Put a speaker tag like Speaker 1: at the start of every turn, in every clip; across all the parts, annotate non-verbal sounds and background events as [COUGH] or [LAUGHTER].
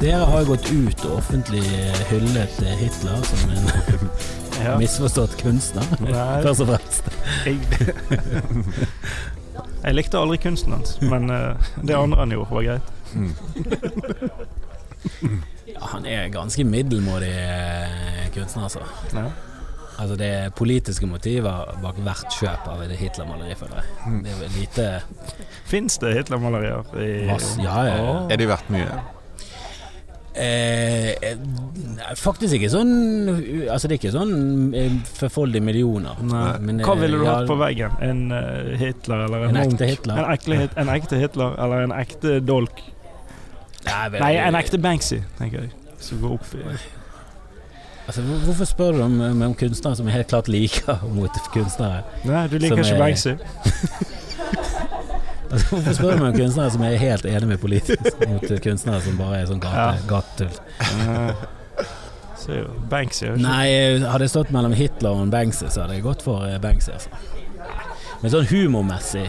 Speaker 1: Dere har gått ut og offentlig hyllet Hitler som en
Speaker 2: [LAUGHS] Ja.
Speaker 1: misforstått kunstner,
Speaker 2: Nei.
Speaker 1: først og fremst.
Speaker 2: [LAUGHS] Jeg, jeg likte aldri kunsten hans, men eh, det andre han gjorde, var greit.
Speaker 1: Ja, han er ganske middelmådig eh, kunstner, altså.
Speaker 2: Ja.
Speaker 1: Altså Det er politiske motiver bak hvert kjøp av et Hitler-maleri, føler jeg.
Speaker 2: Hmm.
Speaker 1: Det er vel lite
Speaker 2: Fins det Hitler-malerier i
Speaker 1: mass... Ja, ja, ja.
Speaker 3: Er de verdt mye?
Speaker 1: Eh, eh, nei, faktisk ikke sånn Altså Det er ikke sånn eh, forfoldige millioner.
Speaker 2: Nei.
Speaker 1: men, eh,
Speaker 2: Hva ville du
Speaker 1: ja,
Speaker 2: hatt på veggen? En eh, Hitler eller en,
Speaker 1: En
Speaker 2: Munch?
Speaker 1: ekte Hitler?
Speaker 2: En, ekle, hit- en ekte Hitler eller en ekte Dolk?
Speaker 1: Nei, vel,
Speaker 2: Nei, en ekte Banksy, tenker jeg. Som går opp i
Speaker 1: altså, hvor- Hvorfor spør du om, om kunstnere som helt klart liker [LAUGHS] mot kunstnere?
Speaker 2: Nei, du
Speaker 1: Som
Speaker 2: liker
Speaker 1: er- [LAUGHS]
Speaker 2: ikke Banksy?
Speaker 1: Altså, Hvorfor spør du meg om kunstnere som er helt enig med politisk [LAUGHS] mot kunstnere som bare er sånn
Speaker 2: Ja.
Speaker 1: gate, gatetull?
Speaker 2: Nei. Så er jo Banksy er jo ikke-
Speaker 1: Nei, hadde jeg stått mellom Hitler og en Banksy, så hadde jeg gått for eh, Banksy. Altså. Men sånn humormessig,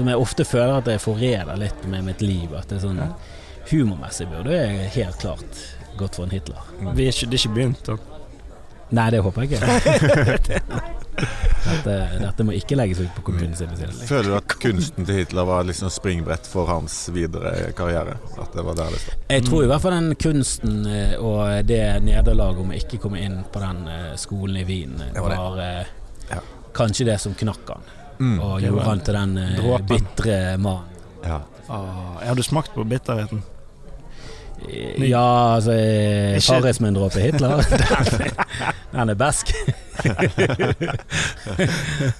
Speaker 1: som jeg ofte føler at jeg forræder litt med mitt liv At det er sånn
Speaker 2: Ja.
Speaker 1: Humormessig burde jeg helt klart gått for en Hitler.
Speaker 2: Vi er ikke, det er ikke begynt. da.
Speaker 1: Nei, det håper
Speaker 2: [LAUGHS]
Speaker 1: jeg ikke. dette, dette må ikke legges ut på kommunens hjemmeside.
Speaker 3: Føler du at kunsten til Hitler var liksom springbrett for hans videre karriere? At det var der det stod?
Speaker 1: Jeg tror i hvert fall den kunsten eh, og det nederlaget om å ikke komme inn på den eh, skolen i Wien, eh,
Speaker 3: Det var det.
Speaker 1: var eh,
Speaker 3: Ja.
Speaker 1: kanskje det som knakk han. Og
Speaker 3: Mm.
Speaker 2: Det var
Speaker 1: gjorde han til den eh,
Speaker 2: dråpen.
Speaker 1: bitre mannen.
Speaker 3: Ja.
Speaker 2: Åh, jeg hadde smakt på bitterheten. Ny.
Speaker 1: Ja, altså eh,
Speaker 2: Ikke-
Speaker 1: Farris med en dråpe Hitler. [LAUGHS] Han er besk.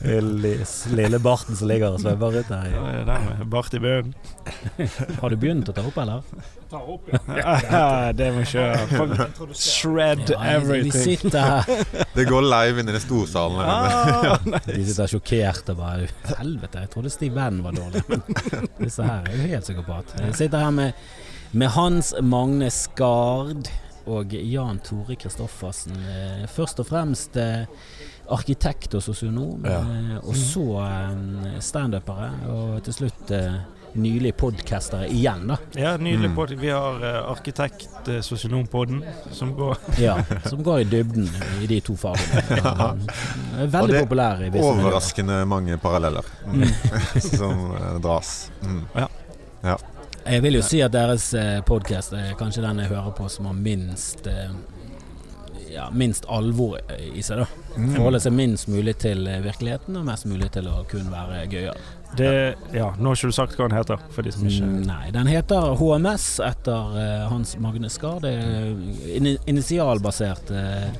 Speaker 1: lille, lille barten som ligger og svømmer rundt
Speaker 2: Ja,
Speaker 1: her.
Speaker 2: det er der med Bart i bøen.
Speaker 1: Har du begynt å ta opp, eller?
Speaker 2: [LAUGHS] Ah, det må kjøre. Shred
Speaker 1: vi
Speaker 2: everything.
Speaker 1: sitter her.
Speaker 3: Det går live inne i storsalen. her inne.
Speaker 2: Ah,
Speaker 1: De sitter sjokkert og bare Helvete, jeg trodde Steve Bannon var dårlig.
Speaker 3: [LAUGHS]
Speaker 1: Men disse her er jo helt psykopat. Jeg sitter her med, med Hans Magne Skard og Jan Tore Kristoffersen. Eh, Først og fremst eh, arkitekt og sosionom,
Speaker 3: Ja.
Speaker 1: eh, og så eh, standupere, og til slutt eh, nylig podkastere igjen, da.
Speaker 2: Ja, nydelig
Speaker 3: Mm.
Speaker 2: podd. Vi har eh, arkitekt eh, sosionompodden som går
Speaker 1: Ja, som går i dybden i de to
Speaker 3: [LAUGHS]
Speaker 1: fagene. Eh,
Speaker 3: Og det
Speaker 1: Veldig
Speaker 3: er
Speaker 1: populær i visse miljøer.
Speaker 3: Overraskende mange paralleller mm, [LAUGHS] som eh, dras. Mm.
Speaker 1: Jeg vil jo si at deres podkast er kanskje den jeg hører på som har minst eh, ja, minst alvor i seg, da.
Speaker 3: Mm.
Speaker 1: Forholde seg minst mulig til eh, virkeligheten, og mest mulig til å kun være gøyal.
Speaker 2: det, Ja, nå har ikke du sagt hva den heter, for de som ikke
Speaker 1: Mm, Nei, den heter HMS etter eh, Hans Magne Skard. Det er ini- initialbasert eh,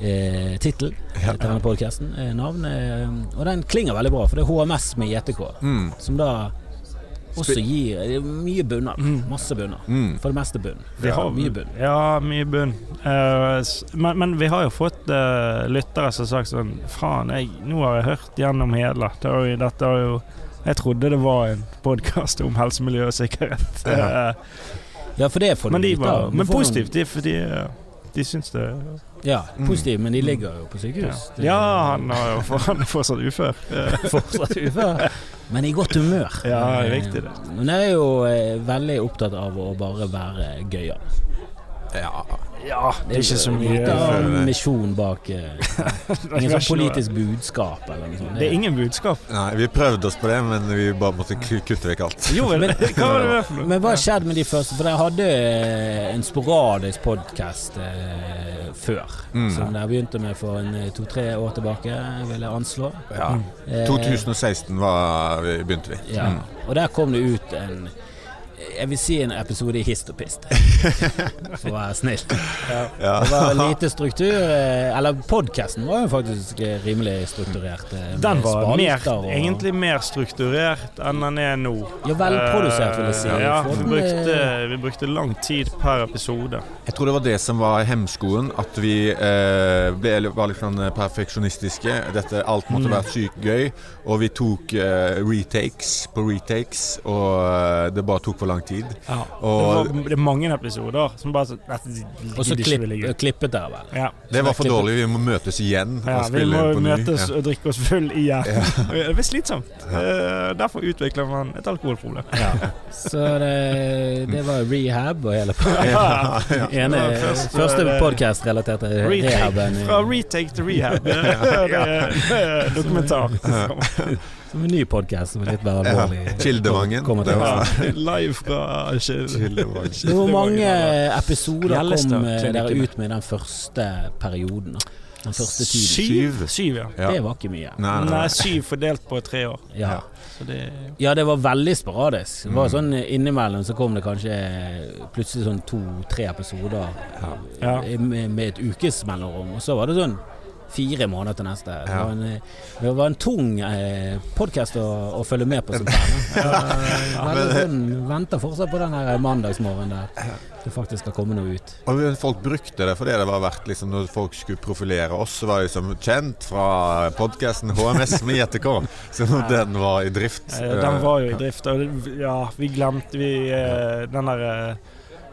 Speaker 1: eh, tittel
Speaker 3: Ja.
Speaker 1: til denne podkasten. Eh, navn. Eh, og den klinger veldig bra, for det er HMS med JTK,
Speaker 3: Mm.
Speaker 1: som da også gir det er mye bunner. Masse bunner.
Speaker 3: Mm.
Speaker 1: For det meste bunn.
Speaker 2: Vi har-
Speaker 1: mye bunn.
Speaker 2: Ja, mye bunn. Eh, s- men, men vi har jo fått eh, lyttere som har sagt sånn Faen, jeg, nå har jeg hørt gjennom hele. Det har jo, dette har jo Jeg trodde det var en podkast om helse, miljø og sikkerhet.
Speaker 3: Ja.
Speaker 2: Eh,
Speaker 1: Ja, for det får
Speaker 2: men
Speaker 1: du
Speaker 2: de
Speaker 1: vite. da.
Speaker 2: var
Speaker 1: Du
Speaker 2: men
Speaker 1: får noen-
Speaker 2: positivt, de, for de, eh, de syns det
Speaker 1: Ja,
Speaker 3: Mm.
Speaker 1: positivt, men de ligger jo på sykehus. Det er
Speaker 2: Ja,
Speaker 1: [LAUGHS]
Speaker 2: han, har jo, for, han er fortsatt ufør. Eh,
Speaker 1: fortsatt ufør. Men i godt humør.
Speaker 2: Ja,
Speaker 1: Eh,
Speaker 2: riktig det.
Speaker 1: Men jeg er jo eh, veldig opptatt av å bare være gøyal.
Speaker 3: Ja.
Speaker 2: ja, det er ikke så mye
Speaker 1: Lite av
Speaker 3: føler det.
Speaker 1: misjon bak
Speaker 2: [LAUGHS]
Speaker 1: eh,
Speaker 2: Det
Speaker 1: Ingen
Speaker 2: er
Speaker 1: sånn
Speaker 2: ikke noe-
Speaker 1: politisk budskap eller noe sånt.
Speaker 2: Det er ingen budskap.
Speaker 3: Nei, vi prøvde oss på det, men vi bare måtte ku- kutte vekk alt.
Speaker 2: Jo, hva var det for noe?
Speaker 1: Men hva skjedde med de første? For jeg hadde eh, en sporadisk podkast eh, før.
Speaker 3: Mm.
Speaker 1: Som jeg begynte med for en eh, to-tre år tilbake, vil jeg anslå.
Speaker 3: Ja.
Speaker 1: Eh,
Speaker 3: 2016 var, vi- begynte vi. Mm.
Speaker 1: Ja. Og der kom det ut en Jeg vil si en episode i Hist og
Speaker 2: [LAUGHS]
Speaker 1: Pist, for å være snill.
Speaker 3: Ja.
Speaker 1: Det var lite struktur eh, Eller podkasten var jo faktisk eh, rimelig strukturert. eh, med
Speaker 2: Den var mer,
Speaker 1: spalter og-
Speaker 2: egentlig mer strukturert enn den er nå.
Speaker 1: Ja, velprodusert, vil jeg si.
Speaker 2: Eh, Ja,
Speaker 1: For
Speaker 2: vi
Speaker 1: den,
Speaker 2: brukte,
Speaker 1: eh,
Speaker 2: vi brukte lang tid per episode.
Speaker 3: Jeg tror det var det som var hemskoen, at vi eh, ble, var litt sånn perfeksjonistiske. Dette, alt
Speaker 2: Mm.
Speaker 3: måtte være sykt gøy, og vi tok eh, retakes på retakes, og eh, det bare tok for lang tid.
Speaker 2: Ja.
Speaker 3: Og-
Speaker 2: det, var, det er mange episoder som bare så, Dette gidder
Speaker 1: Og så
Speaker 2: ikke vi
Speaker 1: klipp,
Speaker 2: legge ut.
Speaker 1: klippet der, vel.
Speaker 2: Ja.
Speaker 3: Det var for dårlig. Vi må møtes igjen
Speaker 2: Ja,
Speaker 3: og
Speaker 2: vi
Speaker 3: spille
Speaker 2: må
Speaker 3: på ny.
Speaker 2: [LAUGHS] møtes
Speaker 3: Ja.
Speaker 2: og drikke oss full igjen. [LAUGHS] Det blir slitsomt. Eh, Derfor utvikler man et alkoholproblem.
Speaker 1: Så det, det var rehab og hele pakka.
Speaker 3: Ja, ja.
Speaker 1: [LAUGHS] Ene,
Speaker 2: Ja, først-
Speaker 1: første podkast-relaterte rehaben.
Speaker 2: Fra retake til rehab. Det er- det er Dokumentar.
Speaker 1: Som en ny podkast som er litt mer
Speaker 3: Ja.
Speaker 1: alvorlig.
Speaker 3: Kildevangen.
Speaker 1: Kommer
Speaker 3: Det var-
Speaker 1: tilbake.
Speaker 2: Ja, Live fra
Speaker 3: [LAUGHS] Kildevangen.
Speaker 1: Hvor mange episoder
Speaker 2: Gjellestad
Speaker 1: kom eh, dere
Speaker 2: klinikken.
Speaker 1: ut med den første perioden? da? Den første tiden?
Speaker 2: Syv?
Speaker 3: Syv?
Speaker 2: Syv, ja.
Speaker 3: Ja.
Speaker 1: Det var ikke mye.
Speaker 3: Nei, nei,
Speaker 2: Nei,
Speaker 3: nei.
Speaker 2: syv fordelt på tre år.
Speaker 1: Ja.
Speaker 2: Så det
Speaker 1: ja, det var veldig sporadisk. Det var
Speaker 3: Mm.
Speaker 1: sånn Innimellom så kom det kanskje plutselig sånn to-tre episoder
Speaker 2: Ja.
Speaker 1: eh, med, med et ukes mellomrom. Og så var det sånn fire måneder til neste. Det
Speaker 3: Ja.
Speaker 1: var en, eh, det var en tung eh, podkast å, å følge med
Speaker 3: [LAUGHS]
Speaker 1: på som fan. Ja,
Speaker 3: Men-
Speaker 1: sånn, venter fortsatt på den her mandagsmorgenen der det faktisk skal komme noe ut.
Speaker 3: Og folk brukte det fordi det var verdt liksom, Når folk skulle profilere oss, så var det liksom kjent fra podkasten HMS med JTK. [LAUGHS] Så når den var i drift
Speaker 2: Eh, Den var jo i drift, og det- ja, vi glemte vi eh, den der eh,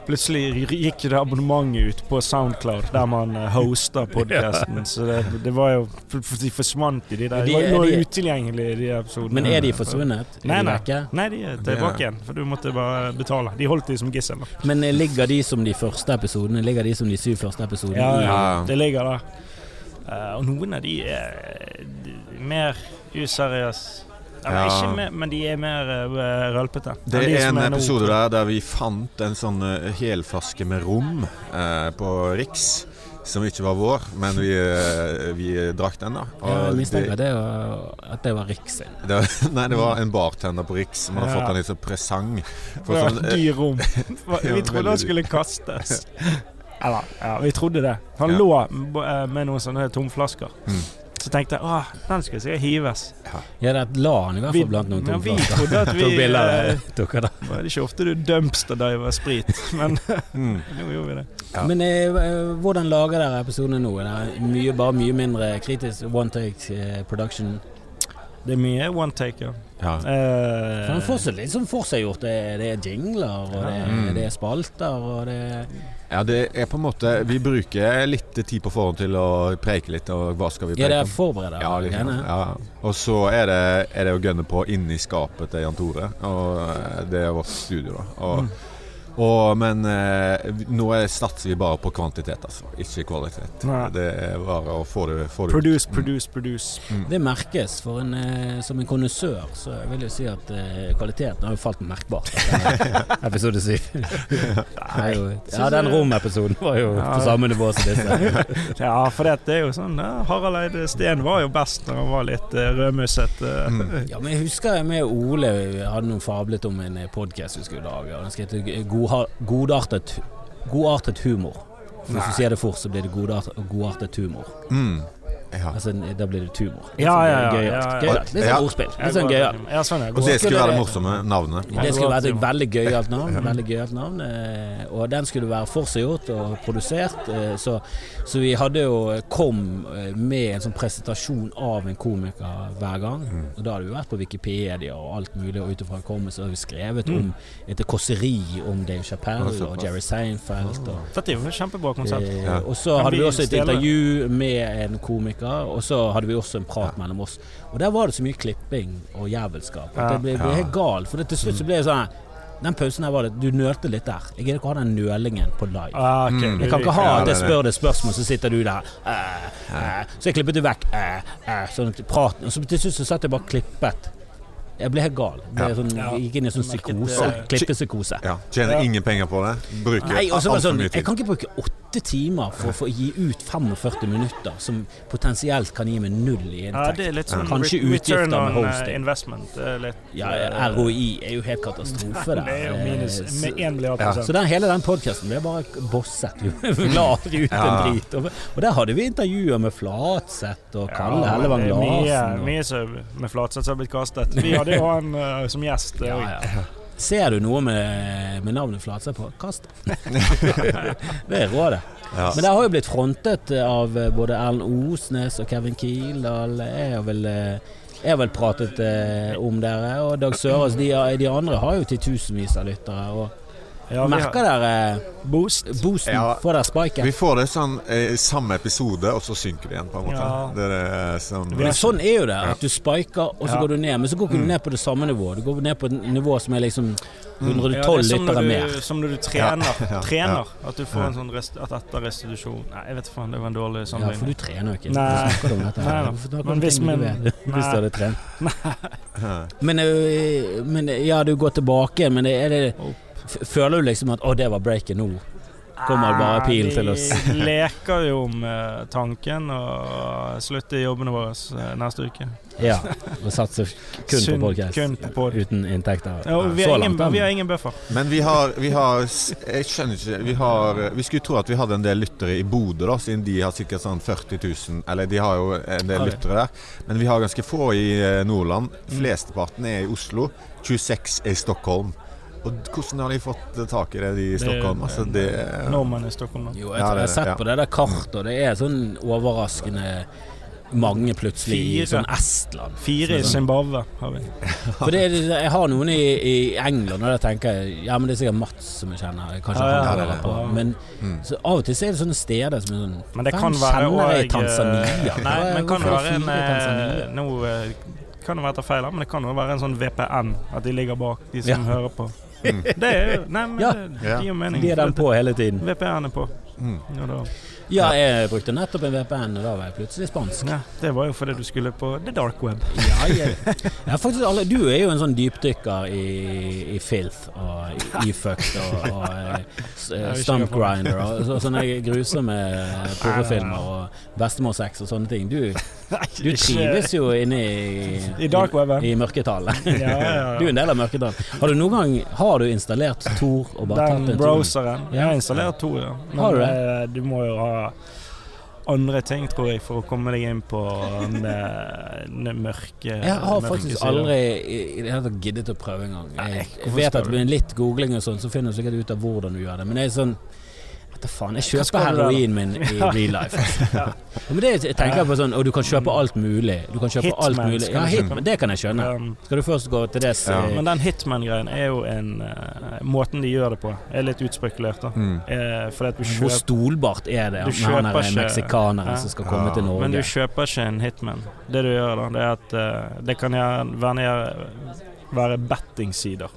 Speaker 2: Plutselig gikk jo det abonnementet ut på Soundcloud, der man eh, hoster podkasten. Så det, det var jo for- for De forsvant i de
Speaker 1: De
Speaker 2: der. De var
Speaker 1: er-
Speaker 2: jo
Speaker 1: de er-
Speaker 2: utilgjengelige, de episodene.
Speaker 1: Men er de forsvunnet? Er
Speaker 2: Nei,
Speaker 1: de vekke?
Speaker 2: Nei, de er tilbake igjen, for du måtte bare betale. De holdt de som gissel. da.
Speaker 1: Men eh, ligger de som de første episodene? Ligger de som de syv første episodene?
Speaker 2: Ja,
Speaker 1: i-
Speaker 3: Ja.
Speaker 2: ja. Det ligger der. Eh, og noen av de er d- mer useriøse. Eller
Speaker 3: Ja.
Speaker 2: ikke mer, men de er mer eh, rølpete.
Speaker 3: Det
Speaker 2: Enn de
Speaker 3: er
Speaker 2: som
Speaker 3: en
Speaker 2: nå.
Speaker 3: episode der, der vi fant en sånn eh, helflaske med rom eh, på Riks. Som ikke var vår, men vi, eh, vi drakk den, da.
Speaker 1: Ja, jeg mistenker det
Speaker 3: det,
Speaker 1: var, at det var Riks sin.
Speaker 3: det, var- [LAUGHS] nei, det var en bartender på Riks som hadde
Speaker 2: Ja.
Speaker 3: fått den i sånn presang. For
Speaker 2: Ja,
Speaker 3: sånn, eh,
Speaker 2: dyr rom. Vi
Speaker 3: [LAUGHS] Ja,
Speaker 2: trodde
Speaker 3: veldig
Speaker 2: han skulle
Speaker 3: [LAUGHS]
Speaker 2: kastes. Eller, ja, vi trodde det. Han
Speaker 3: Ja.
Speaker 2: lå eh, med noen sånne tomflasker.
Speaker 3: Mm.
Speaker 2: Så tenkte jeg åh, den skulle sikkert hives.
Speaker 1: Ja, det la han i hvert
Speaker 2: Vi-
Speaker 1: fall blant noen
Speaker 2: ja, vi
Speaker 1: tomflasker. [LAUGHS]
Speaker 2: trodde at vi,
Speaker 1: Tok bilder av
Speaker 2: eh,
Speaker 1: dere da.
Speaker 2: Det er ikke ofte du dumpster-diver sprit, men [LAUGHS]
Speaker 3: mm.
Speaker 2: nå gjorde vi det.
Speaker 3: Ja.
Speaker 1: Men eh, eh, hvordan lager dere episodene nå? Er det mye, bare mye mindre kritisk one take eh, production?
Speaker 2: Det er mye one Eh, taker.
Speaker 3: ja.
Speaker 1: For han får så litt sånn forseggjort. Det, er- det er jingler, og det, er-
Speaker 3: Mm.
Speaker 1: det er spalter, og det er
Speaker 3: ja, det er på en måte Vi bruker litt tid på forhånd til å preike litt, og hva skal vi
Speaker 1: Ja, det
Speaker 3: preike
Speaker 1: er
Speaker 3: om?
Speaker 1: forberedt.
Speaker 3: Ja, liksom,
Speaker 1: greiene.
Speaker 3: ja. Og så er det, er det å gønne på inni skapet til Jan Tore. Og eh, det er vårt studio, da.
Speaker 1: Mm.
Speaker 3: Og, og, men eh, vi- nå er- satser vi bare på kvantitet, altså. Ikke kvalitet.
Speaker 2: Nei.
Speaker 3: Det er bare å få det, få det ut.
Speaker 2: Produce, produce, produce.
Speaker 1: Det merkes. For en, eh, som en kondisør så jeg vil jeg si at eh, kvaliteten har jo falt merkbart. etter Episode syv. Det er jo- Ja, den romepisoden var jo
Speaker 2: Ja.
Speaker 1: på samme nivå som disse.
Speaker 2: [LAUGHS] Ja, for det, det er jo sånn ja, Harald Eide Steen var jo best når han var litt uh, rødmusset. eh. [LAUGHS]
Speaker 1: Ja, men jeg husker jeg med Ole vi hadde noen fablet om en podkast vi skulle lage. og Den skal hete Godha- Godartet, godartet humor. For hvis du sier det fort, så blir det godart- godartet humor.
Speaker 3: Mm. Ja.
Speaker 1: Altså, da blir det tumor. Litt
Speaker 2: Ja,
Speaker 1: sånn
Speaker 2: ja, ja,
Speaker 1: gøyalt.
Speaker 2: ja, ja.
Speaker 1: Gøyalt. Litt
Speaker 3: Ja.
Speaker 1: sånn ordspill. Litt sånn gøyalt.
Speaker 2: Ja, sånn, ja.
Speaker 3: Og det skulle
Speaker 1: Skulle
Speaker 3: være det
Speaker 1: det-
Speaker 3: morsomme navnet.
Speaker 2: Ja.
Speaker 1: Det skulle
Speaker 2: det var
Speaker 1: vært et
Speaker 2: trimmer.
Speaker 1: veldig gøyalt navn. Veldig gøyalt navn eh, og den skulle være forseggjort og produsert. eh, Så, så vi hadde jo kom eh, med en sånn presentasjon av en komiker hver gang. Og da hadde vi vært på Wikipedia og alt mulig, og ut ifra kommet så hadde vi skrevet om et kåseri om Dave Chappelle
Speaker 3: Ja, såpass.
Speaker 1: og Jerry Seinfeld. Og,
Speaker 2: Dette er jo et kjempebra konsept.
Speaker 1: Eh,
Speaker 3: Ja.
Speaker 1: Og så
Speaker 2: Kan
Speaker 1: hadde
Speaker 2: vi
Speaker 1: vi også et
Speaker 2: stjele?
Speaker 1: intervju med en komiker, og så hadde vi også en prat mellom oss. Og der var det så mye klipping og jævelskap at
Speaker 2: Ja.
Speaker 1: jeg ble, ble
Speaker 3: Ja.
Speaker 1: helt gal. For det, til slutt så ble jeg sånn her, Den pausen her var det Du nølte litt der. Jeg gidder ikke å ha den nølingen på live.
Speaker 2: Ah, ok,
Speaker 3: Mm.
Speaker 2: du
Speaker 1: Jeg kan ikke ha
Speaker 3: Ja,
Speaker 1: at
Speaker 3: det
Speaker 1: jeg
Speaker 3: er
Speaker 1: spør deg spørsmål, så sitter du der eh, eh, Så jeg klippet det vekk. eh, eh, Sånn at praten Og så til slutt så satt jeg bare og klippet. Jeg ble helt gal. Jeg, ble
Speaker 3: Ja.
Speaker 1: sånn,
Speaker 2: Ja.
Speaker 1: jeg gikk inn i en sånn
Speaker 2: Merket det.
Speaker 1: psykose. Klippepsykose.
Speaker 3: Ja. Tjener
Speaker 2: Ja.
Speaker 3: ingen penger på det. Bruker
Speaker 1: Nei, og så var det
Speaker 3: altfor
Speaker 1: sånn,
Speaker 3: mye
Speaker 1: jeg
Speaker 3: tid.
Speaker 1: kan ikke bruke åtte timer for, å få gi ut 45 minutter som potensielt kan gi meg null i
Speaker 2: Ja, det
Speaker 1: inntekt.
Speaker 2: er litt sånn
Speaker 1: Kanskje
Speaker 2: re-
Speaker 1: utgifter
Speaker 2: return
Speaker 1: med
Speaker 2: on, eh,
Speaker 1: hosting.
Speaker 2: investment. eh, litt,
Speaker 1: Ja,
Speaker 2: eh,
Speaker 1: ROI er jo helt katastrofe der.
Speaker 2: Det er jo minus
Speaker 1: Eh,
Speaker 2: med
Speaker 1: så-
Speaker 2: 1 milliard
Speaker 3: Ja.
Speaker 1: Så
Speaker 2: prosent.
Speaker 1: den, hele den podkasten ble bare bosset. [LAUGHS] Vi la aldri ut
Speaker 3: Ja.
Speaker 1: en drit. Og, og der hadde vi intervjuer med Flatseth og Kalle
Speaker 2: Ja,
Speaker 1: Hellevang
Speaker 2: det er
Speaker 1: Larsen.
Speaker 2: Mye,
Speaker 1: og-
Speaker 2: mye som med Flatseth som har blitt
Speaker 1: [LAUGHS]
Speaker 2: kastet. Vi hadde jo han eh, som gjest. eh,
Speaker 1: Ja, ja. Ser du noe med, med navnet Flatseth på,
Speaker 3: [LAUGHS]
Speaker 1: kast [LAUGHS] det. det er rådet.
Speaker 3: Ja.
Speaker 1: Men det har jo blitt frontet av eh, både Erlend Osnes og Kevin Kildahl. Er jo vel eh, Jeg har vel pratet eh, om dere, og Dag Sørås de, de andre har jo titusenvis av lyttere. Og
Speaker 2: Ja, vi har
Speaker 1: merker dere eh,
Speaker 2: boost.
Speaker 1: boosten?
Speaker 3: Ja.
Speaker 1: Får dere spiken?
Speaker 3: Vi får det sånn eh, samme episode, og så synker vi igjen, på en måte.
Speaker 2: Ja.
Speaker 3: Det er det eh, som
Speaker 2: Vi
Speaker 1: Men
Speaker 2: har-
Speaker 1: sånn er jo det. At du spiker, og så
Speaker 2: Ja.
Speaker 1: går du ned. Men så går ikke
Speaker 3: Mm.
Speaker 1: du ned på det samme nivået. Du går ned på et nivå som er liksom
Speaker 3: Mm.
Speaker 1: 112
Speaker 2: Ja, det er som når
Speaker 1: lyttere
Speaker 2: du,
Speaker 1: mer.
Speaker 2: Som når du trener.
Speaker 3: Ja.
Speaker 2: trener At du får
Speaker 3: Ja.
Speaker 2: en sånn rest, at etter restitusjon Nei, jeg vet faen, det var en dårlig
Speaker 1: Ja, for du
Speaker 2: sammenligning.
Speaker 1: trener jo ikke.
Speaker 2: Nei.
Speaker 1: Hvorfor snakker du om dette?
Speaker 2: Nei, nei.
Speaker 1: Hvorfor snakker du
Speaker 2: Men
Speaker 1: om
Speaker 2: hvis
Speaker 1: ting du
Speaker 2: man-
Speaker 1: ikke vet? [LAUGHS] Hvis du
Speaker 2: Nei.
Speaker 1: hadde trent.
Speaker 3: Ja.
Speaker 1: Men, øh, men ja, du går tilbake, men er det
Speaker 2: Opp.
Speaker 1: f- Føler du liksom at 'å, det var breaket nå'? kommer bare pil til oss.
Speaker 2: Vi Ah, [LAUGHS] leker jo med tanken og slutter jobbene våre eh, neste uke.
Speaker 1: Ja. [LAUGHS] Og satser kun på
Speaker 2: Synd,
Speaker 1: podcast
Speaker 2: Kun på pod.
Speaker 1: Uten inntekter.
Speaker 2: Ja, og vi,
Speaker 1: Så
Speaker 2: har
Speaker 1: langt,
Speaker 2: ingen,
Speaker 1: da.
Speaker 2: vi har ingen buffer.
Speaker 3: Men vi har, vi har s- Jeg skjønner ikke Vi, har, vi skulle tro at vi hadde en del lyttere i Bodø, da, siden de har sikkert sånn 40 000 Eller de har jo en del
Speaker 2: Har de?
Speaker 3: lyttere der. Men vi har ganske få i eh, Nordland. Flesteparten er i Oslo. 26 er i Stockholm. Og d- hvordan har de fått eh, tak i det, de i Stockholm? Altså, det
Speaker 2: eh, Nordmenn i Stockholm nå.
Speaker 1: Jo, jeg, tror
Speaker 3: Ja, det er
Speaker 1: jeg har
Speaker 3: det,
Speaker 1: sett
Speaker 3: ja.
Speaker 1: på det der kartet, og det er sånn overraskende mange plutselig i
Speaker 2: Fire.
Speaker 1: sånn Estland.
Speaker 2: Fire i Zimbabwe har vi.
Speaker 1: For det, er- jeg har noen i, i England, og da tenker jeg ja, men det er sikkert Mats som jeg kjenner. Kanskje
Speaker 2: Ja, ja,
Speaker 1: han
Speaker 3: ja,
Speaker 1: hører
Speaker 3: ja.
Speaker 1: på. Men
Speaker 3: Mm.
Speaker 1: så av og til så er det sånne steder som er sånn
Speaker 2: Men det
Speaker 1: Hvem
Speaker 2: kan være
Speaker 1: kjenner jeg i
Speaker 2: og- eh,
Speaker 1: Tanzania?
Speaker 2: Nei, men kan det
Speaker 1: Hvorfor er
Speaker 2: være en
Speaker 1: fire i Tanzania?
Speaker 2: eh, Nå eh, kan det være ta feil, her, men det kan jo være en sånn VPN, at de ligger bak de som
Speaker 1: Ja.
Speaker 2: hører
Speaker 1: [LAUGHS]
Speaker 2: på.
Speaker 3: Mm.
Speaker 2: Det er jo Nei, men
Speaker 1: Ja.
Speaker 2: det, det gir jo mening.
Speaker 1: De er den på hele tiden.
Speaker 2: VPN er på.
Speaker 3: Mm.
Speaker 2: Ja, da.
Speaker 1: Ja, jeg brukte nettopp en VPN, og da var jeg plutselig spansk.
Speaker 2: Ja, det var jo fordi du skulle på the dark web.
Speaker 1: Ja, jeg, jeg er faktisk alle, du er jo en sånn dypdykker i, i filth og i- i fucked og, og eh, s- eh,
Speaker 2: Ja, vi
Speaker 1: stump
Speaker 2: kjører på.
Speaker 1: grinder og så, sånn sånne grusomme porrofilmer og bestemorsex og sånne ting. Du, du trives jo inne i,
Speaker 2: I dark weben.
Speaker 1: i, i mørketallet. [LAUGHS]
Speaker 2: Ja, ja,
Speaker 1: Du er
Speaker 2: ja.
Speaker 1: en del av mørketallet. Har du noen gang har du installert Tor og bare tatt
Speaker 2: Den
Speaker 1: en tur?
Speaker 2: browseren.
Speaker 1: Ja.
Speaker 2: Jeg har installert to, ja. Men
Speaker 1: Har du det?
Speaker 2: eh, du må jo ha andre ting, tror jeg, for å komme deg inn på den, eh, den mørke
Speaker 1: Jeg har
Speaker 2: mørke
Speaker 1: faktisk
Speaker 2: sider.
Speaker 1: aldri i- i det hele tatt giddet å prøve engang. Jeg,
Speaker 2: Nei,
Speaker 1: jeg
Speaker 2: hvorfor
Speaker 1: vet
Speaker 2: skal
Speaker 1: at
Speaker 2: du?
Speaker 1: med litt googling og sånn, så finner du sikkert ut av hvordan du gjør det. Men jeg er sånn Vet da faen. Jeg
Speaker 2: Hva
Speaker 1: kjøper
Speaker 2: skal du da?
Speaker 1: heroinen min i
Speaker 2: [LAUGHS] [LAUGHS] Ja.
Speaker 1: real life. [LAUGHS] Men det jeg tenker jeg på sånn Og du kan kjøpe alt mulig. Du kan kjøpe alt
Speaker 2: Hitman
Speaker 1: mulig.
Speaker 2: skal
Speaker 1: Ja,
Speaker 2: du kjøpe.
Speaker 1: Hitman. Det kan jeg skjønne.
Speaker 2: Um,
Speaker 1: Skal du først gå til eh, det så-
Speaker 3: Ja.
Speaker 2: Men den hitman-greien er jo en eh, Måten de gjør det på, er litt utspekulert, da.
Speaker 3: Mm.
Speaker 2: Eh, fordi at du
Speaker 1: Hvor
Speaker 2: kjøper
Speaker 1: stolbart er det
Speaker 2: Du
Speaker 1: at han er
Speaker 2: kjøper ikke-
Speaker 1: meksikaneren
Speaker 2: Ja.
Speaker 1: som skal komme
Speaker 3: Ja.
Speaker 1: til
Speaker 2: Men du
Speaker 1: Norge?
Speaker 2: kjøper ikke en hitman. Det du gjør da, det er at eh, det kan gjerne være, være bettingsider.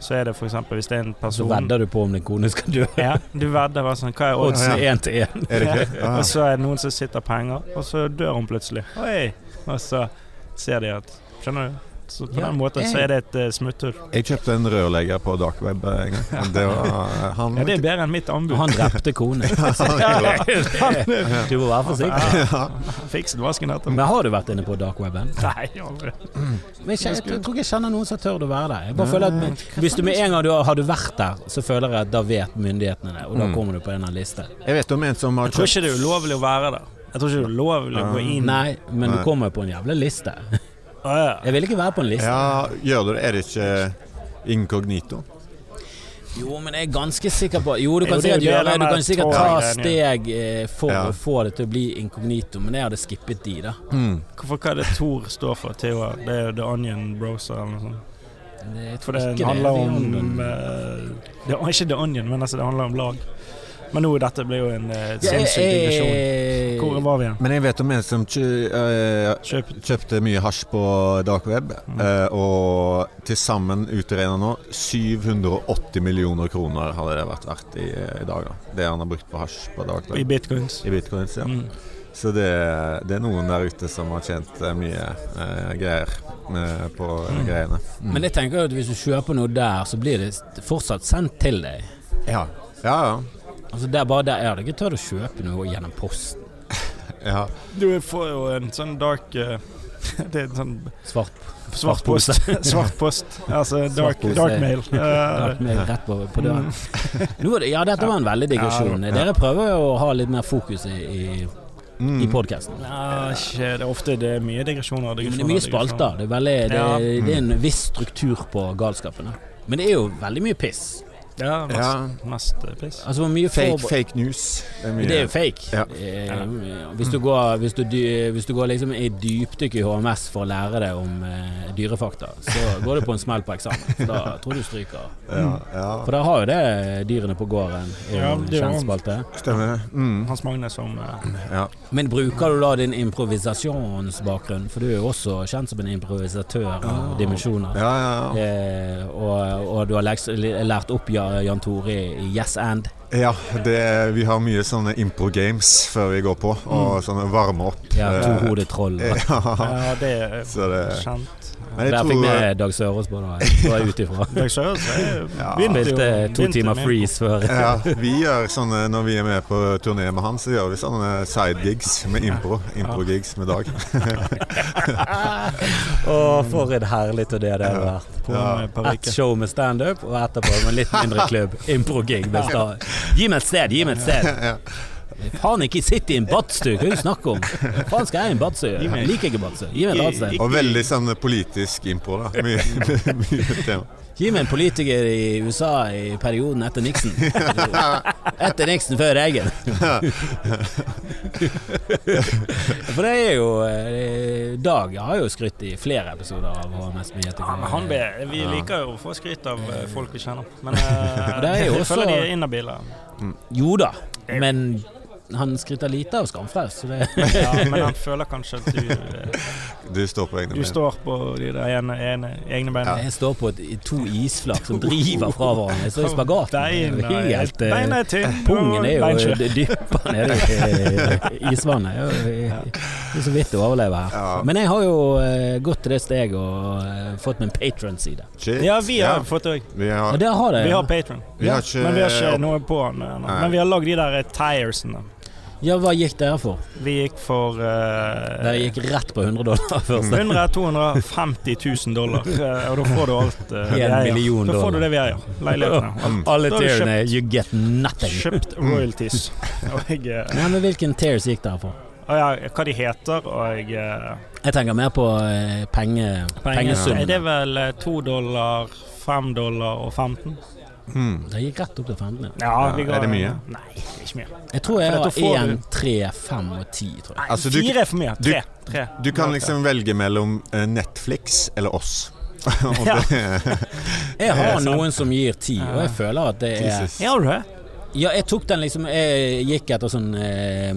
Speaker 2: Så er det f.eks. hvis det er en
Speaker 1: Så
Speaker 2: person
Speaker 1: vedder du på om din kone skal dø.
Speaker 2: sånn- Ja, du vedder bare
Speaker 1: [LAUGHS]
Speaker 2: sånn Hva er
Speaker 1: Odds
Speaker 2: oddsen?
Speaker 1: er én til én.
Speaker 3: Er det Ah, ikke?
Speaker 2: Og så er det noen som sitter penger, og så dør hun plutselig. Oi! Og så ser de at Skjønner du? Så på
Speaker 1: Ja,
Speaker 2: den måten så
Speaker 1: jeg-
Speaker 2: er det et eh, smutthull.
Speaker 3: Jeg kjøpte en rørlegger på dark web eh, en gang. men Det var eh, han
Speaker 2: Ja, det er bedre enn mitt anbud. [LAUGHS]
Speaker 1: Han drepte kone. [LAUGHS] Du må være forsiktig.
Speaker 2: Ja. Fiks vasken etterpå.
Speaker 1: Men har du vært inne på darkweben?
Speaker 2: Nei, aldri.
Speaker 1: Men jeg, jeg, jeg tror ikke jeg kjenner noen som tør å være der. Jeg bare føler at men- Hvis du med en gang du har, har du vært der, så føler jeg at da vet myndighetene det, og da
Speaker 3: Mm.
Speaker 1: kommer du på en av listene.
Speaker 3: Jeg vet om en som har
Speaker 2: Jeg tror ikke det er ulovlig å være der. Jeg tror ikke det er ulovlig å gå
Speaker 3: Ah.
Speaker 2: inn.
Speaker 1: Nei, men du
Speaker 3: Nei.
Speaker 1: kommer på en jævla liste.
Speaker 2: Å, ja.
Speaker 1: Jeg vil ikke være på en liste.
Speaker 3: Ja, gjør du det? Er det ikke inkognito?
Speaker 1: Jo, men jeg er ganske sikker på Jo, du
Speaker 2: Jo,
Speaker 1: kan
Speaker 2: det er
Speaker 1: sikkert
Speaker 2: jo det
Speaker 1: gjøre det,
Speaker 2: den
Speaker 1: du
Speaker 2: der
Speaker 1: kan sikkert ta
Speaker 2: tråden-
Speaker 1: steg eh, for
Speaker 3: Ja.
Speaker 1: å få det til å bli inkognito, men jeg hadde skippet de, da.
Speaker 3: Mm.
Speaker 2: Hvorfor hva er det Tor står for? Theo, det er jo The Onion Broser eller noe
Speaker 1: Det,
Speaker 2: sånt.
Speaker 1: jeg
Speaker 2: For
Speaker 1: tror
Speaker 2: det
Speaker 1: ikke det.
Speaker 2: handler
Speaker 1: Vi
Speaker 2: om
Speaker 1: handler om-
Speaker 2: eh, det er Ikke The Onion, men altså det handler om lag. Men nå, dette blir jo en eh,
Speaker 1: Ja, jeg-
Speaker 2: sinnssyk digresjon. Hvor
Speaker 1: jeg-
Speaker 2: var vi igjen?
Speaker 3: Men jeg vet om en som kjø- eh,
Speaker 2: Kjøp.
Speaker 3: kjøpte mye hasj på dark web, eh, og til sammen utregna nå 780 millioner kroner hadde det vært verdt i, eh, i dag. Da. Det han har brukt på hasj på dark
Speaker 2: I
Speaker 3: web.
Speaker 2: bitcoins.
Speaker 3: I bitcoins, ja.
Speaker 2: Mm.
Speaker 3: Så det, det er noen der ute som har tjent eh, mye eh, greier eh, på eh, greiene. Mm.
Speaker 1: Men jeg tenker jo at hvis du kjøper noe der, så blir det fortsatt sendt til deg.
Speaker 3: Ja, ja. ja.
Speaker 1: Altså det er bare der jeg hadde ikke tørt å kjøpe noe gjennom posten.
Speaker 3: ja.
Speaker 2: Du får jo en sånn dark eh, [LAUGHS] Det er en sånn
Speaker 1: Svart
Speaker 2: svart post. [LAUGHS] Svart post. Altså
Speaker 1: Svart
Speaker 2: dark,
Speaker 1: pose. [LAUGHS]
Speaker 2: dark mail. Eh,
Speaker 1: pakke med rett på, på døren.
Speaker 3: Mm.
Speaker 1: [LAUGHS] Nå, er det- ja, dette var en veldig digresjon. Dere prøver jo å ha litt mer fokus i, i, i
Speaker 3: Mm.
Speaker 1: podkasten.
Speaker 2: Nei, ikke, det er ofte det er mye digresjoner.
Speaker 1: Men det
Speaker 2: digresjoner
Speaker 1: er mye
Speaker 2: digresjoner.
Speaker 1: spalter. Det er, veldig, det,
Speaker 2: Ja.
Speaker 3: Mm.
Speaker 1: det er en viss struktur på galskapen. da. Men det er jo veldig mye piss.
Speaker 2: Ja, mest,
Speaker 3: Ja.
Speaker 2: mest eh, piss.
Speaker 1: Altså hvor mye
Speaker 3: Fake,
Speaker 1: forber-
Speaker 3: fake news. Det er mye.
Speaker 1: Det er jo fake.
Speaker 3: Ja.
Speaker 1: Eh, Hvis, du går, hvis, du, dy- hvis du går liksom i dypdykk i HMS for å lære deg om eh, dyrefakta, så går du på en smell på eksamen. For Da tror jeg du stryker.
Speaker 3: ja, ja.
Speaker 1: For da har jo det dyrene på gården i
Speaker 2: Ja,
Speaker 1: en
Speaker 2: det er jo
Speaker 1: kjennspalte.
Speaker 3: Stemmer. Mm.
Speaker 2: Hans Magne som eh,
Speaker 1: [LAUGHS]
Speaker 3: Ja.
Speaker 1: Men bruker du da din improvisasjonsbakgrunn, for du er jo også kjent som en improvisatør av dimensjoner.
Speaker 3: Ja, ja, ja.
Speaker 1: Eh, og, og du har leks- lært opp Ja- Jan Tore i Yes And.
Speaker 3: ja det, vi har mye sånne impro-games før vi går på, og sånne varme opp.
Speaker 1: Ja,
Speaker 3: Eh,
Speaker 1: Tohodet troll.
Speaker 3: ja.
Speaker 2: Mm. [LAUGHS] Ja, det er
Speaker 3: Så det
Speaker 2: kjent.
Speaker 3: Men
Speaker 1: Der
Speaker 3: jeg
Speaker 1: fikk
Speaker 3: tror
Speaker 1: vi Dag Sørås på, da. Går jeg ut ifra.
Speaker 2: [LAUGHS] Dag Sørås er-
Speaker 1: [LAUGHS]
Speaker 3: Ja.
Speaker 2: begynte jo-
Speaker 1: Spilte to
Speaker 2: begynte
Speaker 1: timer
Speaker 2: med-
Speaker 1: freeze før.
Speaker 2: [LAUGHS]
Speaker 3: ja, vi gjør sånne Når vi er med på turné med han, så gjør vi sånne sidegigs med impro. Impro-gigs med Dag.
Speaker 1: Å, for en herlig turné det har vært.
Speaker 2: På eh,
Speaker 3: Ja.
Speaker 2: en
Speaker 1: Ett
Speaker 2: parykke.
Speaker 1: show med standup, og etterpå med litt mindre klubb. Impro-gig. med sta- Gi meg et sted, gi meg et sted! Faen, ikke sitt i en badstue, hva er det du snakker om? Faen skal jeg i en badstue?
Speaker 2: Gi meg-
Speaker 1: Jeg liker ikke badstue. Gi meg et annet sted.
Speaker 3: Og veldig sånn politisk impro, da. Mye, [LAUGHS] mye tema.
Speaker 1: Gi meg en politiker i USA i perioden etter Nixon. Etter Nixon før Reagan. For det er jo eh, Dag har jo skrytt i flere episoder av HMS med
Speaker 2: Ja, men han
Speaker 1: Gjetekongen.
Speaker 2: ber, vi liker jo å få skryt av eh, folk vi kjenner,
Speaker 1: [LAUGHS]
Speaker 2: men
Speaker 1: Det er
Speaker 2: eh,
Speaker 1: jo
Speaker 2: jeg
Speaker 1: også-
Speaker 2: føler de er inhabile.
Speaker 1: Jo da, men han skryter lite av Skamfraus. Så det
Speaker 2: Ja, [LAUGHS] men han føler kanskje at du, eh,
Speaker 3: Du står på egne
Speaker 2: du står på de der ene, ene, egne beina.
Speaker 1: Jeg står på et, to isflak som driver fra hverandre. Jeg står i spagat.
Speaker 2: Beina er-
Speaker 1: Helt, eh,
Speaker 2: beina er tynne.
Speaker 1: Pungen er jo
Speaker 2: Beinskjør.
Speaker 1: dyppa nede i i isvannet. Det er jo- Det er så vidt å overleve her.
Speaker 3: Ja.
Speaker 1: Men jeg har jo eh, gått til det steget og eh, fått min patron-side.
Speaker 3: Shit.
Speaker 2: Ja, vi har
Speaker 3: Ja,
Speaker 2: fått det òg.
Speaker 3: vi har,
Speaker 1: Og der har det.
Speaker 2: Vi
Speaker 1: ja.
Speaker 2: har patron.
Speaker 3: vi har ikke,
Speaker 2: Men vi har ikke noe på den ennå.
Speaker 3: Nei.
Speaker 2: Men vi har lagd de der eh, tiresene.
Speaker 1: Ja, hva gikk dere for?
Speaker 2: Vi gikk for eh,
Speaker 1: Dere gikk rett på 100 dollar først.
Speaker 2: 100 250 000 dollar, eh, og da får du alt eh, vi
Speaker 1: En
Speaker 2: eier.
Speaker 1: million
Speaker 2: Da får
Speaker 1: dollar.
Speaker 2: du det vi eier.
Speaker 1: [LAUGHS]
Speaker 2: Leilighetene.
Speaker 1: Alle
Speaker 2: Da har vi kjøpt-
Speaker 1: tearene, you get nothing.
Speaker 2: Kjøpt
Speaker 3: Mm.
Speaker 2: royalties. Og jeg eh,
Speaker 1: Nei, men Hvilken tears gikk dere for?
Speaker 2: og ja, Hva de heter, og jeg eh,
Speaker 1: Jeg tenker mer på eh, penge,
Speaker 2: Er det
Speaker 1: pengesummen.
Speaker 2: vel eh, 2 dollar, 5 dollar og 15?
Speaker 3: Mm.
Speaker 1: Det gikk rett opp til 15. ja.
Speaker 2: Ja, vi
Speaker 3: Ja,
Speaker 2: ga-
Speaker 3: er det mye?
Speaker 2: Nei, det er ikke mye.
Speaker 1: Jeg tror jeg
Speaker 2: For
Speaker 1: har
Speaker 2: dette får
Speaker 1: 1,
Speaker 2: du-
Speaker 1: 3, 5 og 10, tror jeg.
Speaker 3: Altså, du-
Speaker 2: Fire er for mye.
Speaker 3: du-
Speaker 2: Tre. Tre.
Speaker 3: Du kan liksom velge mellom eh, Netflix eller oss. [LAUGHS] Og
Speaker 2: Ja.
Speaker 3: det-
Speaker 1: Jeg har
Speaker 2: sant.
Speaker 1: noen som gir 10, og jeg føler at det er
Speaker 3: Jesus.
Speaker 2: [LAUGHS] Ja, har du det?
Speaker 1: Ja, jeg tok den liksom Jeg gikk etter sånn eh,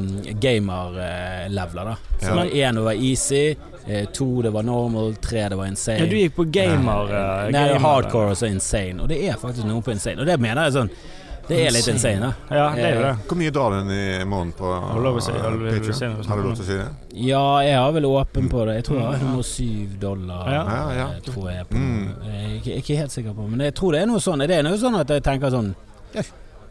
Speaker 1: gamer-leveler, da. Så
Speaker 3: Ja.
Speaker 1: det var én var easy, eh, to det var normal, tre det var insane.
Speaker 2: Ja, du gikk på gamer. eh,
Speaker 1: Nei,
Speaker 2: gamer.
Speaker 1: hardcore og så insane. Og det er faktisk noen på insane. Og det mener jeg sånn Det er litt
Speaker 2: Insane.
Speaker 1: insane, da.
Speaker 2: Ja, det er jo det.
Speaker 3: Hvor mye drar den i måneden på
Speaker 2: Har du lov å si- har du- vil du si noe?
Speaker 3: Har du lov til å si det?
Speaker 1: Ja, jeg har vel åpen på det. Jeg tror jeg har 107 dollar.
Speaker 2: Mm. Ja.
Speaker 3: Ja, ja.
Speaker 1: eh, Tror jeg, på.
Speaker 3: Mm.
Speaker 1: jeg er ikke- jeg er ikke helt sikker på, men jeg tror det er noe sånn. Det er noe sånn at jeg tenker sånn ja,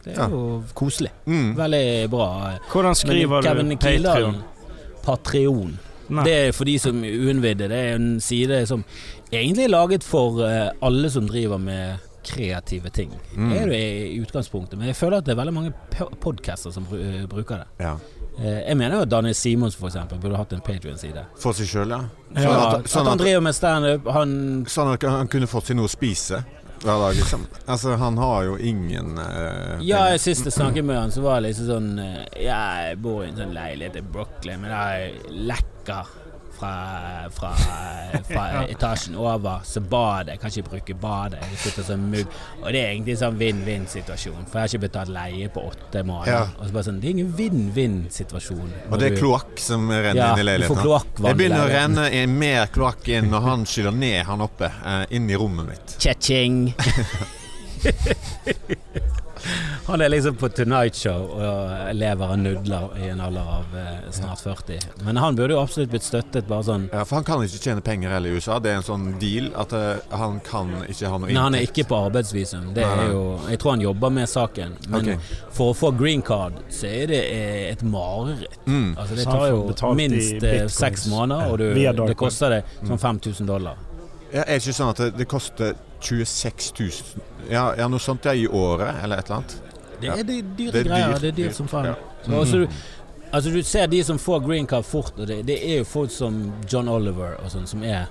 Speaker 1: Det
Speaker 3: Ja.
Speaker 1: er jo koselig.
Speaker 3: Mm.
Speaker 1: Veldig bra.
Speaker 2: Hvordan
Speaker 1: Men
Speaker 2: skriver du
Speaker 1: Kevin Kildahl,
Speaker 2: Patrion?
Speaker 1: Patreon.
Speaker 2: Nei.
Speaker 1: Det er for de som uinnvidde. Det er en side som egentlig er laget for eh, alle som driver med kreative ting.
Speaker 3: Mm.
Speaker 1: Det er det i utgangspunktet, men jeg føler at det er veldig mange po- podcaster som bru- eh, bruker det.
Speaker 3: Ja.
Speaker 1: Eh, Jeg mener jo at Daniel Simons for eksempel burde hatt en Patrion-side.
Speaker 3: For seg sjøl, ja.
Speaker 1: Ja,
Speaker 3: Sånn
Speaker 1: at,
Speaker 3: at, sånn
Speaker 1: han
Speaker 3: at,
Speaker 1: driver med standup, han
Speaker 3: sånn at han kunne fått seg noe å spise hver dag, liksom. Altså, han har jo ingen eh,
Speaker 1: Ja,
Speaker 3: penger.
Speaker 1: jeg sist jeg snakket med han, så var jeg liksom sånn eh, Ja, jeg bor i en sånn leilighet i Brooklyn, men det er lekker fra, fra,
Speaker 3: [LAUGHS]
Speaker 1: fra etasjen over. Så badet, jeg kan ikke bruke badet. Jeg sitter som mugg. Og det er egentlig en sånn vinn-vinn-situasjon, for jeg har ikke betalt leie på åtte måneder.
Speaker 3: Ja.
Speaker 1: Og så bare sånn Det er ingen vinn-vinn-situasjon.
Speaker 3: Og det er
Speaker 1: når du-
Speaker 3: kloakk som renner
Speaker 1: Ja,
Speaker 3: inn i
Speaker 1: du får
Speaker 3: leiligheten.
Speaker 1: kloakkvann
Speaker 3: det
Speaker 1: i
Speaker 3: begynner å
Speaker 1: leiligheten.
Speaker 3: renne i mer kloakk inn når han skyller ned han oppe, eh, inn i rommet mitt.
Speaker 1: Cha-ching! [LAUGHS] Han er liksom på Tonight Show og lever av nudler i en alder av eh, snart 40. Men han burde jo absolutt blitt støttet, bare sånn
Speaker 3: Ja, for han kan ikke tjene penger heller i USA. Det er en sånn deal at eh, han kan ikke ha noe
Speaker 1: Nei, han er
Speaker 3: inntekt.
Speaker 1: ikke på arbeidsvisum. Det
Speaker 3: Nei, nei.
Speaker 1: er jo, jeg tror han jobber med saken. Men
Speaker 3: Ok.
Speaker 1: for å få green card, så er det eh, et mareritt.
Speaker 3: Mm.
Speaker 1: Altså, det
Speaker 2: Så han
Speaker 1: tar
Speaker 2: får
Speaker 1: jo
Speaker 2: betalt i
Speaker 1: minst eh,
Speaker 2: bitcoins.
Speaker 1: seks måneder, og
Speaker 2: Via
Speaker 1: du,
Speaker 2: dark
Speaker 1: det koster deg
Speaker 3: Mm.
Speaker 1: sånn 5000 dollar.
Speaker 3: Ja, er det ikke sånn at det, det koster 26 000 ja, ja, noe sånt ja, i året, eller et eller annet?
Speaker 1: Det
Speaker 3: Ja.
Speaker 1: er de dyre
Speaker 3: Det er
Speaker 1: greier.
Speaker 3: dyrt,
Speaker 1: Det er dyrt
Speaker 3: dyrt,
Speaker 1: som faen.
Speaker 3: ja.
Speaker 1: Så også du,
Speaker 3: Mm.
Speaker 1: altså du ser de som får green card fort, og det, det er jo folk som John Oliver og sånn, som er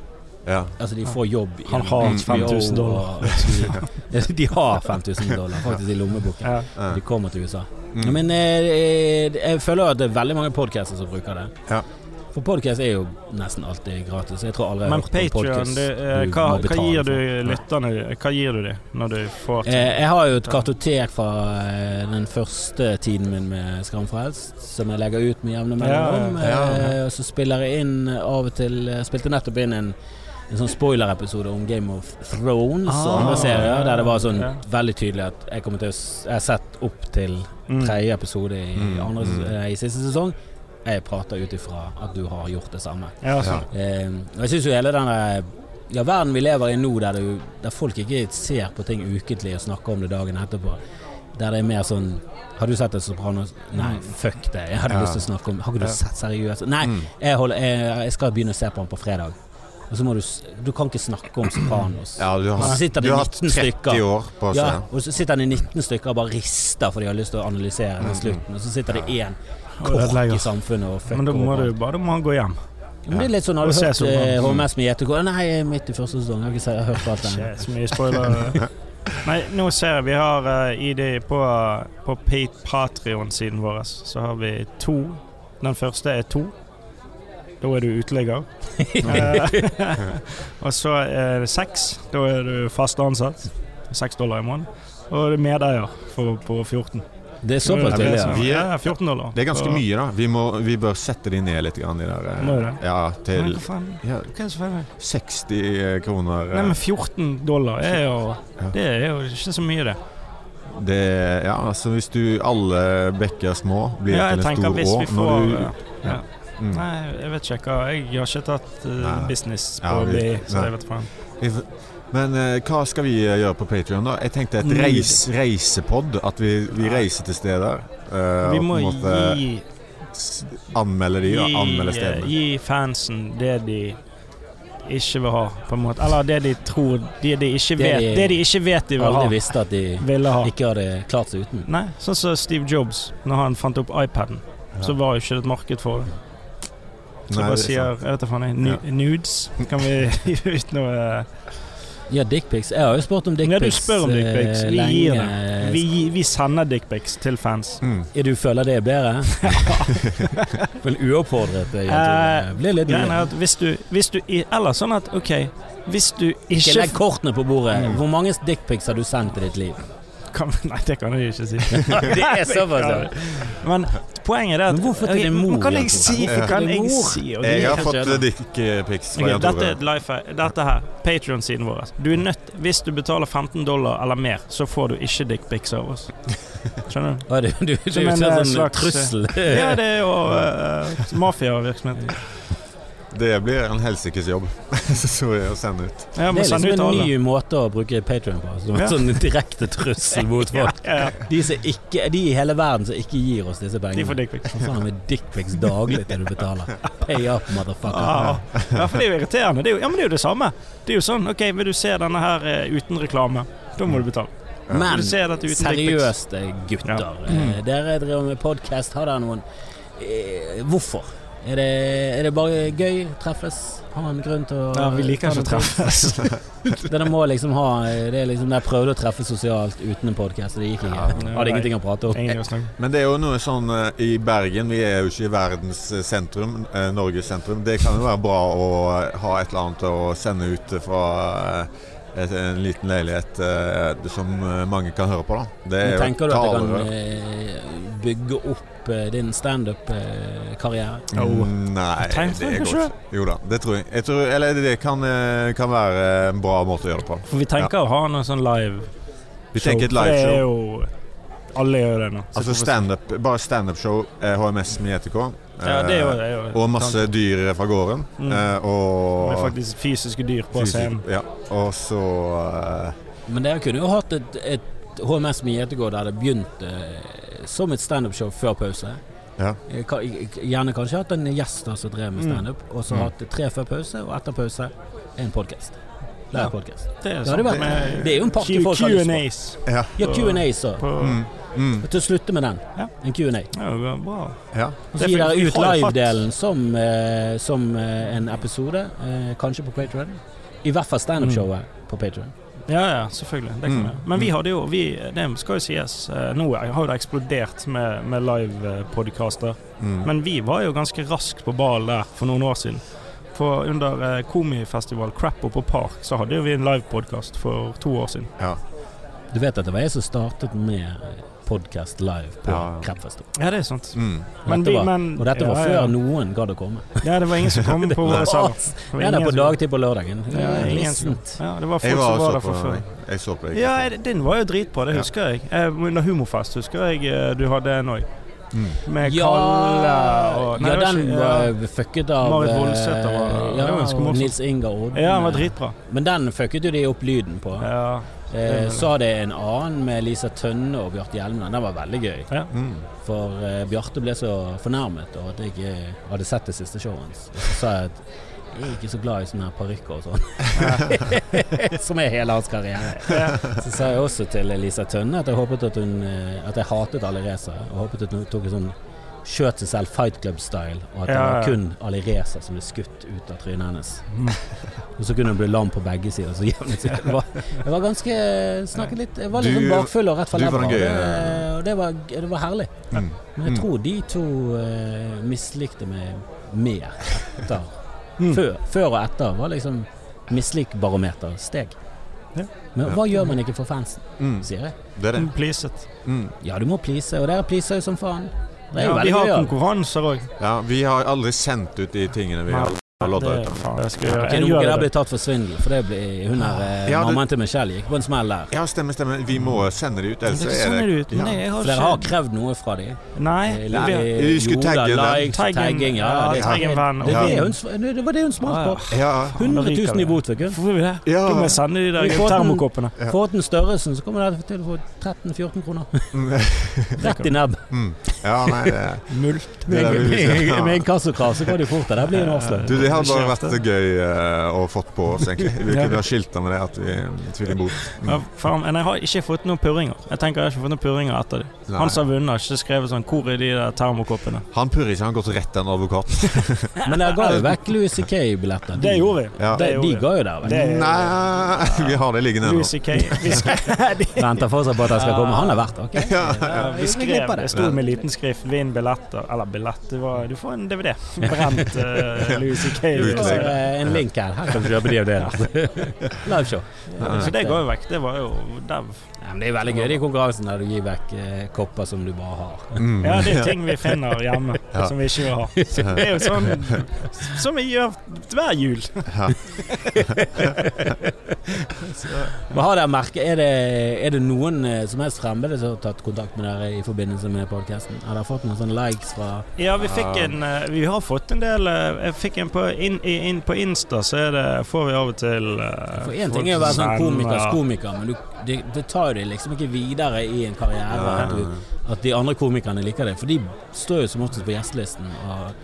Speaker 3: Ja.
Speaker 1: Altså, de får jobb i
Speaker 2: Han har
Speaker 1: HBO,
Speaker 2: 5000 dollar.
Speaker 1: og- [LAUGHS] De har 5000 dollar faktisk i lommeboken.
Speaker 2: Ja.
Speaker 3: ja.
Speaker 1: De kommer til USA.
Speaker 3: Mm.
Speaker 1: Men eh, jeg føler at det er veldig mange podcaster som bruker det.
Speaker 3: Ja.
Speaker 1: For podcast er jo nesten alltid gratis. Jeg tror aldri jeg har
Speaker 2: Men
Speaker 1: hørt om
Speaker 2: Patrion,
Speaker 1: podcast
Speaker 2: eh,
Speaker 1: du
Speaker 2: hva,
Speaker 1: må
Speaker 2: hva
Speaker 1: betale
Speaker 2: gir
Speaker 1: for.
Speaker 2: du lytterne Hva gir du dem når du får
Speaker 1: Eh, Jeg har jo et kartotek fra eh, den første tiden min med Skamfrelst, som jeg legger ut med jevne mellomrom.
Speaker 3: Ja, ja, ja.
Speaker 1: Eh, og Så spiller jeg inn eh, av og til Jeg Spilte nettopp inn en, en sånn spoilerepisode om Game of Thrones og
Speaker 2: Ah,
Speaker 1: andre serier, der det var sånn
Speaker 2: ja.
Speaker 1: veldig tydelig at jeg kommer til å s- Jeg har sett opp til
Speaker 2: Mm.
Speaker 1: tredje episode i,
Speaker 3: Mm,
Speaker 1: andre,
Speaker 3: mm.
Speaker 1: eh, i siste sesong. Jeg prater ut ifra at du har gjort det samme.
Speaker 2: Ja, sånn.
Speaker 1: Eh, og jeg syns jo hele denne ja, verden vi lever i nå, der, det, jo- der folk ikke ser på ting ukentlig og snakker om det dagen etterpå, der det er mer sånn Har du sett det Sopranos? Nei, fuck det. Jeg hadde
Speaker 3: Ja.
Speaker 1: lyst til å snakke om Har ikke du
Speaker 2: Mm. Ja.
Speaker 1: sett seriøst? Nei,
Speaker 3: Mm.
Speaker 1: jeg, holder, jeg, jeg skal begynne å se på den på fredag. Og så må du s- Du kan ikke snakke om Sopranos.
Speaker 3: Ja, du
Speaker 2: Altså,
Speaker 1: Og så
Speaker 3: har,
Speaker 1: sitter det
Speaker 3: du har
Speaker 1: 19
Speaker 3: 30
Speaker 1: stykker.
Speaker 3: år på å se.
Speaker 1: Ja, og så sitter han i 19 stykker og bare rister for de har lyst til å analysere
Speaker 2: Mm.
Speaker 1: den slutten, og så sitter det én kork i
Speaker 2: Ødelegger.
Speaker 1: samfunnet og fucker
Speaker 2: Men da må
Speaker 1: overalt.
Speaker 2: du bare da må han gå hjem.
Speaker 1: Ja, Men det er litt sånn, har du
Speaker 2: Og se
Speaker 1: hørt
Speaker 2: sommeren.
Speaker 1: eh, HMS med JTK? Nei, midt i første sesong. Jeg har ikke se- jeg har hørt på alt det.
Speaker 2: Ikke så mye
Speaker 1: [LAUGHS]
Speaker 2: spoiler. Nei, nå ser jeg vi har eh, i de på, på Patrion-siden vår så har vi to. Den første er to. Da er
Speaker 1: [LAUGHS]
Speaker 2: du uteligger. Eh, [LAUGHS] og så er det seks. Da er du fast ansatt. Seks dollar i måneden. Og medeier for, på 14.
Speaker 1: Det er såpass tydelig,
Speaker 2: ja.
Speaker 1: ja.
Speaker 3: Vi er-
Speaker 2: Ja, 14 dollar.
Speaker 3: Det er ganske
Speaker 2: Så-
Speaker 3: mye, da. Vi, må, vi bør sette de ned litt grann, de der. eh,
Speaker 2: Må det?
Speaker 3: Ja,
Speaker 2: Men
Speaker 3: til
Speaker 2: hva faen?
Speaker 3: ja,
Speaker 2: Hva er det som feiler?
Speaker 3: 60 kroner. eh,
Speaker 2: Nei, men 14 dollar er jo
Speaker 3: Ja.
Speaker 2: Det er jo ikke så mye, det.
Speaker 3: eh, Det, ja, altså hvis du alle bekker små blir
Speaker 2: Ja, jeg
Speaker 3: til en
Speaker 2: tenker
Speaker 3: stor
Speaker 2: hvis
Speaker 3: å
Speaker 2: vi
Speaker 3: når
Speaker 2: får
Speaker 3: du-
Speaker 2: ja.
Speaker 3: ja. Mm.
Speaker 2: Nei, jeg vet ikke hva Jeg har ikke tatt eh,
Speaker 3: Nei.
Speaker 2: business på
Speaker 3: Ja, vi-
Speaker 2: BI, så
Speaker 3: nei.
Speaker 2: jeg vet faen.
Speaker 3: Vi f- Men eh, hva skal vi eh, gjøre på Patreon da? Jeg tenkte et
Speaker 2: Nydelig.
Speaker 3: reis, reisepod. At vi, vi reiser til steder. eh,
Speaker 2: Vi
Speaker 3: og
Speaker 2: må
Speaker 3: på en måte
Speaker 2: gi,
Speaker 3: s- anmelde de, da.
Speaker 2: gi, eh,
Speaker 3: Anmelde stedene.
Speaker 2: gi fansen det de ikke vil ha, på en måte. Eller det de tror Det de
Speaker 1: Det
Speaker 2: ikke vet
Speaker 1: de-
Speaker 2: Det de ikke vet de vil ha.
Speaker 1: Alle visste at de
Speaker 2: Ville ha.
Speaker 1: ikke hadde klart seg uten.
Speaker 2: Nei, sånn som Steve Jobs, når han fant opp iPaden. Så var jo ikke det et marked for det. Så
Speaker 3: Nei,
Speaker 2: bare
Speaker 3: det er
Speaker 2: sier
Speaker 3: sant.
Speaker 2: Jeg vet da faen, jeg. nu- Nudes? Kan vi [LAUGHS] gi ut noe eh,
Speaker 1: Ja, dickpics. Jeg har jo spurt om
Speaker 2: Ja, du
Speaker 1: dickpics eh,
Speaker 2: spør om dick pics. Vi gir Vi,
Speaker 1: lenge.
Speaker 2: gi- vi sender dickpics til fans.
Speaker 3: Mm.
Speaker 1: Ja, du føler det er
Speaker 2: [LAUGHS]
Speaker 1: bedre? Men uoppfordret, eh, Jan Tore.
Speaker 2: Eh,
Speaker 1: Blir litt
Speaker 2: Greien
Speaker 1: mye.
Speaker 2: er at hvis du, hvis du i- Eller sånn at OK, hvis du
Speaker 1: Ikke
Speaker 2: ikke
Speaker 1: legg kortene på bordet.
Speaker 3: Mm.
Speaker 1: Hvor mange dickpics har du sendt i ditt
Speaker 2: [LAUGHS]
Speaker 1: liv? [LAUGHS]
Speaker 2: kan, [LAUGHS] Nei, det kan jeg ikke si.
Speaker 1: det er såpass, ja.
Speaker 2: Men poenget er at
Speaker 1: Men hvorfor til
Speaker 2: Ok,
Speaker 1: din mor,
Speaker 2: men Kan
Speaker 1: Jan
Speaker 2: jeg
Speaker 1: Tore?
Speaker 2: si
Speaker 3: Hvorfor
Speaker 2: Kan
Speaker 1: til din
Speaker 2: jeg
Speaker 1: mor?
Speaker 2: si ok?
Speaker 3: Jeg har
Speaker 1: Kanskje
Speaker 3: fått
Speaker 1: det.
Speaker 3: dickpics
Speaker 2: Ok,
Speaker 3: fra Jan
Speaker 2: dette
Speaker 3: Tore.
Speaker 2: er et life Dette her, Patrion-siden vår. Du er nødt Hvis du betaler 15 dollar eller mer, så får du ikke dickpics av oss.
Speaker 1: [LAUGHS]
Speaker 2: Skjønner du?
Speaker 1: Å, Du, du, du, du,
Speaker 2: Som en,
Speaker 1: ser
Speaker 2: eh,
Speaker 1: sånn
Speaker 2: slags-
Speaker 1: trussel.
Speaker 2: Ja, det er jo uh, mafiavirksomhet.
Speaker 3: Det blir en helsikes jobb [LAUGHS] så jeg å sende ut.
Speaker 1: Det
Speaker 2: Ja, må
Speaker 1: er
Speaker 2: sende ut
Speaker 1: liksom en
Speaker 2: alle.
Speaker 1: ny måte å bruke Patreon på. Som
Speaker 2: Ja.
Speaker 1: en [LAUGHS] sånn direkte trussel mot
Speaker 2: Ja,
Speaker 1: folk.
Speaker 2: ja, ja.
Speaker 1: De, som ikke, de i hele verden som ikke gir oss disse
Speaker 2: De får
Speaker 1: pengene.
Speaker 2: dickpics.
Speaker 1: Hva faen med dickpics daglig til du
Speaker 2: [LAUGHS]
Speaker 1: betaler? Pay up, motherfucker.
Speaker 2: Ah, ja, for det er jo irriterende. Det er jo, ja, men det er jo det samme. Det er jo sånn OK, vil du se denne her eh, uten reklame? Da må du betale.
Speaker 1: Men
Speaker 2: Vil du se dette uten dickpics?
Speaker 1: seriøst, eh, gutter.
Speaker 2: Ja.
Speaker 1: eh, Dere driver med podkast. Har dere noen eh, Hvorfor? Er det, er det bare gøy? Treffes? Har en grunn til å
Speaker 2: Ja, vi liker ikke å eh, treffes.
Speaker 1: Dere må liksom ha eh, Det er liksom Jeg prøvde å treffe sosialt uten en podkast, og det gikk ikke.
Speaker 2: Ja.
Speaker 1: Hadde ingenting å prate om.
Speaker 2: [LAUGHS] Ingen å snakke.
Speaker 3: Men det er jo noe sånn eh, i Bergen Vi er jo ikke i verdens eh, sentrum, eh, Norges sentrum. Det kan jo være bra å eh, ha et eller annet å sende ut eh, fra eh, et, en liten leilighet eh, som eh, mange kan høre på, da. Det
Speaker 1: Men
Speaker 3: er
Speaker 1: tenker du at det kan
Speaker 3: talerør.
Speaker 1: eh, bygge opp eh, din eh, standup-karriere?
Speaker 2: Oh.
Speaker 3: Mm, Nei,
Speaker 2: Tenk
Speaker 3: det
Speaker 2: deg
Speaker 3: går
Speaker 2: kanskje.
Speaker 3: ikke. Jo da, det tror jeg. jeg tror, eller det kan, eh, kan være en bra måte å gjøre det på.
Speaker 2: For vi tenker å ha noe sånn live
Speaker 3: Vi tenker et
Speaker 2: for Det er
Speaker 3: liveshow.
Speaker 2: jo Alle gjør det nå. Så
Speaker 3: Altså
Speaker 2: hvorfor-
Speaker 3: stand-up, bare standup-show, eh, HMS med JTK. eh,
Speaker 2: Ja, det er jo det. Er jo.
Speaker 3: Og masse dyr fra gården.
Speaker 2: Mm.
Speaker 3: eh,
Speaker 2: Med
Speaker 3: Og
Speaker 2: faktisk fysiske dyr på
Speaker 3: Fysisk,
Speaker 2: scenen.
Speaker 3: Ja, og så eh,
Speaker 1: Men dere kunne jo hatt et, et HMS med Gjetegård der det begynte eh, som et standup-show før pause.
Speaker 3: Ja.
Speaker 1: Eh, ka- Gjerne kanskje hatt en gjest da som drev med standup, og så
Speaker 3: Mm.
Speaker 1: hatt tre før pause, og etter pause en podkast.
Speaker 2: Ja.
Speaker 1: Lærepodkast.
Speaker 2: Det er
Speaker 1: Det hadde
Speaker 2: sånn
Speaker 1: vært-
Speaker 2: med
Speaker 1: det er jo en party folk har lyst på.
Speaker 2: Q&As.
Speaker 3: ja.
Speaker 1: Ja,
Speaker 2: Så-
Speaker 1: Q&A, så.
Speaker 2: på-
Speaker 3: Mm. Mm.
Speaker 1: Til å slutte med den.
Speaker 2: Ja.
Speaker 1: En Q&A.
Speaker 2: Det er jo bra.
Speaker 3: Ja.
Speaker 1: Og
Speaker 2: Det
Speaker 1: så
Speaker 2: er
Speaker 1: gir
Speaker 2: fordi
Speaker 1: dere
Speaker 2: vi
Speaker 1: ut
Speaker 2: har jo
Speaker 1: live-delen som, eh, som eh, en episode, eh, kanskje på Patreon I hvert fall standup-showet på Patreon
Speaker 2: Ja, ja, selvfølgelig. Det kan
Speaker 3: Mm.
Speaker 2: vi. gjøre. Men vi hadde jo vi, Det skal jo sies, eh, nå har jo det eksplodert med, med live-podkaster.
Speaker 3: Mm.
Speaker 2: Men vi var jo ganske rask på ballen der for noen år siden. For under eh, komifestival Crappo på Park så hadde jo vi en livepodkast for to år siden.
Speaker 3: ja.
Speaker 1: Du vet at det var jeg som startet med podcast live på
Speaker 3: Ja.
Speaker 1: Kreppfest.
Speaker 2: Ja, det er sant.
Speaker 3: Mm.
Speaker 1: Dette var-
Speaker 2: men,
Speaker 1: Og dette var
Speaker 2: ja,
Speaker 1: før
Speaker 2: ja.
Speaker 1: noen gadd å komme.
Speaker 2: Ja, det var ingen som kom på våre salg. Det var
Speaker 1: Ja, det er
Speaker 2: ingen
Speaker 1: på
Speaker 2: som-
Speaker 1: dagtid på lørdagen.
Speaker 2: Ja, ingen som-
Speaker 1: Glissent.
Speaker 2: Ja, det var folk
Speaker 3: Jeg var
Speaker 2: som var der
Speaker 3: og så
Speaker 2: fra før.
Speaker 3: på Jeg så på deg.
Speaker 2: Ja, er det- din var jo dritbra, det
Speaker 3: Ja.
Speaker 2: husker jeg. Eh, Under Humorfest husker jeg eh, du hadde en òg.
Speaker 3: Mm.
Speaker 2: Med
Speaker 1: Ja,
Speaker 2: Kalle og Nei,
Speaker 1: ja,
Speaker 2: det var
Speaker 1: den
Speaker 2: ikke- ja.
Speaker 1: var fucket av
Speaker 2: Marit
Speaker 1: eh,
Speaker 2: Voldsæter var-
Speaker 1: ja,
Speaker 2: det var ganske
Speaker 1: og
Speaker 2: morsomt.
Speaker 1: Nils Inga Odd.
Speaker 2: ja, den var dritbra.
Speaker 1: Men den fucket jo de opp lyden på.
Speaker 2: Ja.
Speaker 1: Eh, så hadde jeg en annen med Lisa Tønne og Bjarte Hjelmeland. Den var veldig gøy.
Speaker 3: Mm.
Speaker 1: For eh, Bjarte ble så fornærmet over at jeg ikke hadde sett det siste showet hans. Og så sa jeg at jeg er ikke så glad i sånne her parykker og sånn. [LAUGHS] Som er hele hans karriere. Så sa jeg også til Lisa Tønne at jeg håpet at hun eh, At jeg hatet alle racer. Og håpet at hun tok en sånn skjøt seg selv Fight Club-style, og at det
Speaker 2: Ja,
Speaker 1: var
Speaker 2: ja.
Speaker 1: kun alle racer som ble skutt ut av trynet hennes.
Speaker 2: Mm.
Speaker 1: Og så kunne hun bli lam på begge sider. Så jevnet seg. Det var, jeg var ganske eh, Snakket litt Jeg var litt
Speaker 3: Du-
Speaker 1: sånn bakfull og rett fra
Speaker 3: du var
Speaker 1: levra.
Speaker 3: den
Speaker 1: og det-
Speaker 3: gøye.
Speaker 1: Og det var, det var herlig.
Speaker 3: Mm.
Speaker 1: Men jeg
Speaker 3: Mm.
Speaker 1: tror de to eh, mislikte meg mer etter.
Speaker 2: [LAUGHS] Mm.
Speaker 1: Før, før og etter var liksom mislikbarometer steg.
Speaker 2: Ja.
Speaker 1: Men
Speaker 3: Ja.
Speaker 1: hva gjør man ikke for fansen,
Speaker 3: Mm.
Speaker 1: sier jeg.
Speaker 3: Det er det.
Speaker 2: Pleaset.
Speaker 3: Mm.
Speaker 1: Ja, du må please, og dere pleaser jo som faen. Det er jo
Speaker 2: Ja, vi
Speaker 1: veldig
Speaker 2: har
Speaker 1: gøy. å-
Speaker 2: konkurranser òg.
Speaker 3: Ja, vi har aldri sendt ut de tingene vi
Speaker 2: Nei.
Speaker 3: har har
Speaker 2: Det,
Speaker 3: lodda ut. av.
Speaker 2: faen, det skal jeg gjøre.
Speaker 1: Ok,
Speaker 2: Jeg
Speaker 1: nå må
Speaker 2: gjør
Speaker 1: ikke det
Speaker 2: det.
Speaker 1: bli tatt for svindel, for det blir hun her eh,
Speaker 3: Ja, det-
Speaker 1: Mammaen til Michelle gikk på en smell der.
Speaker 3: Ja, stemmer, stemmer. Vi må sende det ut, ellers så
Speaker 2: Det
Speaker 3: er
Speaker 1: Sånn
Speaker 2: sender
Speaker 3: det
Speaker 2: du ut. men
Speaker 3: Ja.
Speaker 2: jeg har
Speaker 1: For dere har
Speaker 2: ikke-
Speaker 1: krevd noe fra dem.
Speaker 2: Nei.
Speaker 1: Nei,
Speaker 2: vi-
Speaker 3: vi skulle
Speaker 1: jo da,
Speaker 3: tagge den.
Speaker 1: likes,
Speaker 2: Taggen,
Speaker 1: tagging, ja,
Speaker 2: ja,
Speaker 1: det,
Speaker 2: taggen venn,
Speaker 1: det,
Speaker 3: og-
Speaker 1: det, hun sv- det var det hun smalt på.
Speaker 3: Ja.
Speaker 1: 100
Speaker 2: Da ryker
Speaker 1: 000 i
Speaker 2: det.
Speaker 1: bot, vet du.
Speaker 2: Hvorfor vil vi det?
Speaker 3: Ja.
Speaker 2: Da må jeg sende de der
Speaker 1: Vi får den-
Speaker 2: termokoppene.
Speaker 3: Ja.
Speaker 1: Få den størrelsen, så kommer det til å få 13-14 kroner. Rett i nebb.
Speaker 3: [LAUGHS] Mm. ja,
Speaker 2: [LAUGHS]
Speaker 3: nei, det
Speaker 2: Mult.
Speaker 3: Det er det
Speaker 2: [LAUGHS]
Speaker 3: vi
Speaker 1: Med
Speaker 3: husker.
Speaker 1: med inkassokrav så går det jo fort. Det der blir en
Speaker 3: Du,
Speaker 1: avsløring.
Speaker 3: det hadde bare
Speaker 2: Skjerf det.
Speaker 3: vært gøy eh, å fått på oss, egentlig. Vi
Speaker 2: Ja.
Speaker 3: kunne ha skilta med det at vi tviler imot.
Speaker 2: Ja, faen, men jeg har ikke fått noen purringer. Jeg tenker jeg har ikke fått noen purringer etter det.
Speaker 3: Nei.
Speaker 2: Han som har vunnet, har ikke skrevet sånn 'Hvor er de der termokoppene?'
Speaker 3: Han purrer ikke, han har gått rett til en advokat.
Speaker 1: Men dere ga jo vekk Louis C.K.-billetter.
Speaker 2: Det gjorde vi.
Speaker 3: Ja.
Speaker 1: De,
Speaker 2: Det gjorde
Speaker 1: de
Speaker 2: vi.
Speaker 1: ga jo der vekk.
Speaker 2: Det-
Speaker 3: Nei, vi har det liggende ennå. [LAUGHS]
Speaker 2: Louis C.K. Vi skrev- de-
Speaker 1: Venter fortsatt på at han skal komme. Han har vært der, ok?
Speaker 2: Ja, vi skrev
Speaker 1: glipper
Speaker 2: det. Det sto med liten skrift 'Vinn billetter'. Eller billett det var, Du får en [LAUGHS] DVD. Brent eh, Louis C.K.
Speaker 1: Du
Speaker 3: Louis
Speaker 1: får
Speaker 3: C.K..
Speaker 2: Så-
Speaker 1: eh, en link her. Her kan du kjøpe de og det der. [LAUGHS] Liveshow.
Speaker 2: Så det går jo vekk. Det var jo dev.
Speaker 1: Ja, men det er jo veldig gøy, de konkurransene der du gir vekk eh, kopper som du bare har.
Speaker 3: Mm.
Speaker 2: Ja, det er ting vi finner [LAUGHS] hjemme
Speaker 3: Ja.
Speaker 2: som vi ikke vil ha. Det er jo sånn som vi gjør hver jul.
Speaker 1: Men har dere merket, er det, er det noen eh, som helst fremmede som har tatt kontakt med dere i forbindelse med podkasten? Har dere fått noen sånne likes fra
Speaker 2: Ja, vi fikk en eh, Vi har fått en del eh, Jeg fikk en på, in, i- inn på Insta, så er det, får vi av og til eh,
Speaker 1: For én ting
Speaker 2: folk
Speaker 1: er å være sånn
Speaker 2: som
Speaker 1: komikers
Speaker 2: sender-
Speaker 1: komiker, men du, det, det tar jo deg liksom ikke videre i en karriere
Speaker 3: [LAUGHS] Ja.
Speaker 1: at, du, at de andre komikerne liker det. For de står jo som oftest på gjestelisten. Og,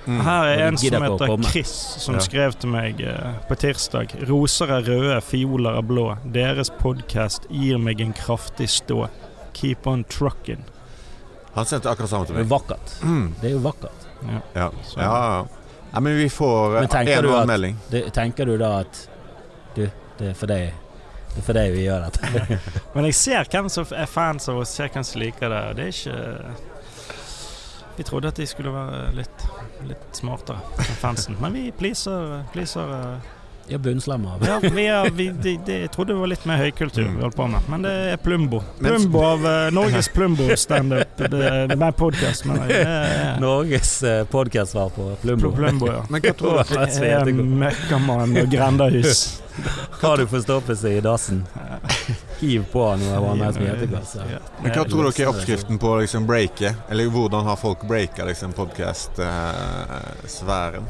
Speaker 3: Mm.
Speaker 2: Her er
Speaker 1: Og
Speaker 2: en
Speaker 1: de gidder
Speaker 2: som
Speaker 1: ikke å komme.
Speaker 2: heter Chris, som
Speaker 3: Ja.
Speaker 2: skrev til meg eh, på tirsdag. 'Roser er røde, fioler er blå. Deres podkast gir meg en kraftig stå. Keep on trucking'.
Speaker 3: Han sendte akkurat samme til
Speaker 1: det er
Speaker 3: meg.
Speaker 1: vakkert.
Speaker 3: Mm.
Speaker 1: Det er jo vakkert.
Speaker 3: Ja. ja, ja. Nei, men vi får eh,
Speaker 1: Men tenker
Speaker 3: en
Speaker 1: du at-
Speaker 3: og annen melding.
Speaker 1: Det, tenker du da at Du, det er for deg Det er for deg vi gjør dette. [LAUGHS]
Speaker 2: Men jeg ser hvem som er fans av oss, ser hvem som liker det. og Det er ikke Vi trodde at de skulle være litt, litt smartere enn fansen, men vi pleaser, pleaser eh,
Speaker 1: Ja, bunnslammer.
Speaker 2: Ja, vi er, vi, de, de, jeg trodde det var litt mer høykultur vi holdt på med, Mm. men det er Plumbo.
Speaker 3: Men-
Speaker 2: Plumbo av eh, [LAUGHS] Norges Plumbo-standup. Det, det er mer podkast, men det er
Speaker 1: Norges eh, podkast-svar på
Speaker 2: Pl-
Speaker 1: Plumbo. [LAUGHS]
Speaker 2: Plumbo, [LAUGHS] ja.
Speaker 3: Men hva tror du?
Speaker 1: Det er
Speaker 2: Eh, Møkkamann og grendahus. [LAUGHS]
Speaker 1: Har du forstoppet seg i dassen? Hiv på noe vanlig som heter
Speaker 2: Ja.
Speaker 3: Men hva tror dere er oppskriften på å liksom breake? Eller hvordan har folk breaka liksom eh, podkast-sfæren?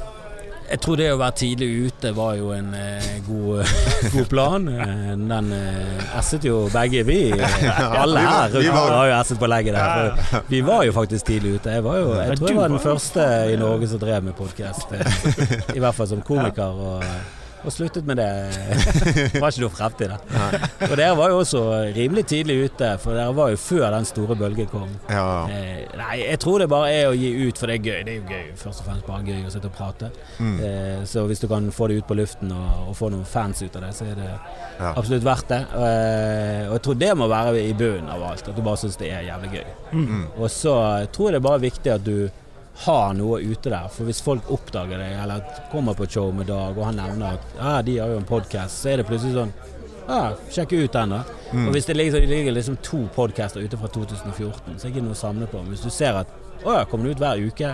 Speaker 1: Jeg tror det å være tidlig ute var jo en eh, [LAUGHS] god, god plan. Eh, Den eh, esset jo begge vi. eh, Alle
Speaker 3: vi var-
Speaker 1: her
Speaker 3: vi var-
Speaker 1: har jo esset på legget der. For vi var jo faktisk tidlig ute. Jeg, var jo,
Speaker 2: Ja,
Speaker 1: jeg tror
Speaker 2: du
Speaker 1: jeg var
Speaker 2: var
Speaker 1: den
Speaker 2: jo
Speaker 1: første
Speaker 2: faen,
Speaker 1: i
Speaker 2: ja.
Speaker 1: eh, Norge som drev med podkast. I hvert fall som komiker. Og eh, Og sluttet med det. Det var ikke noe fremtid der. Og dere var jo også rimelig tidlig ute, for dere var jo før den store bølgen kom.
Speaker 3: Ja,
Speaker 1: Eh, nei, jeg tror det bare er å gi ut, for det er gøy. Det er jo gøy, først og fremst bare gøy å sitte og prate.
Speaker 3: mm,
Speaker 1: Eh, så hvis du kan få det ut på luften og, og få noen fans ut av det, så er det
Speaker 3: ja.
Speaker 1: absolutt verdt det. Eh, og jeg tror det må være i bunnen av alt, at du bare syns det er jævlig gøy.
Speaker 2: Mm.
Speaker 3: Mm.
Speaker 1: Og så tror jeg det er bare viktig at du har noe ute der, for hvis folk oppdager deg, eller kommer på et show med Dag, og han nevner at ah, de har jo en podkast, så er det plutselig sånn Ja, sjekk ut den, da.
Speaker 3: Mm.
Speaker 1: Og hvis det ligger, det ligger liksom to podcaster ute fra 2014, så er det ikke noe å samle på. Men hvis du ser at å ja, kommer det ut hver uke,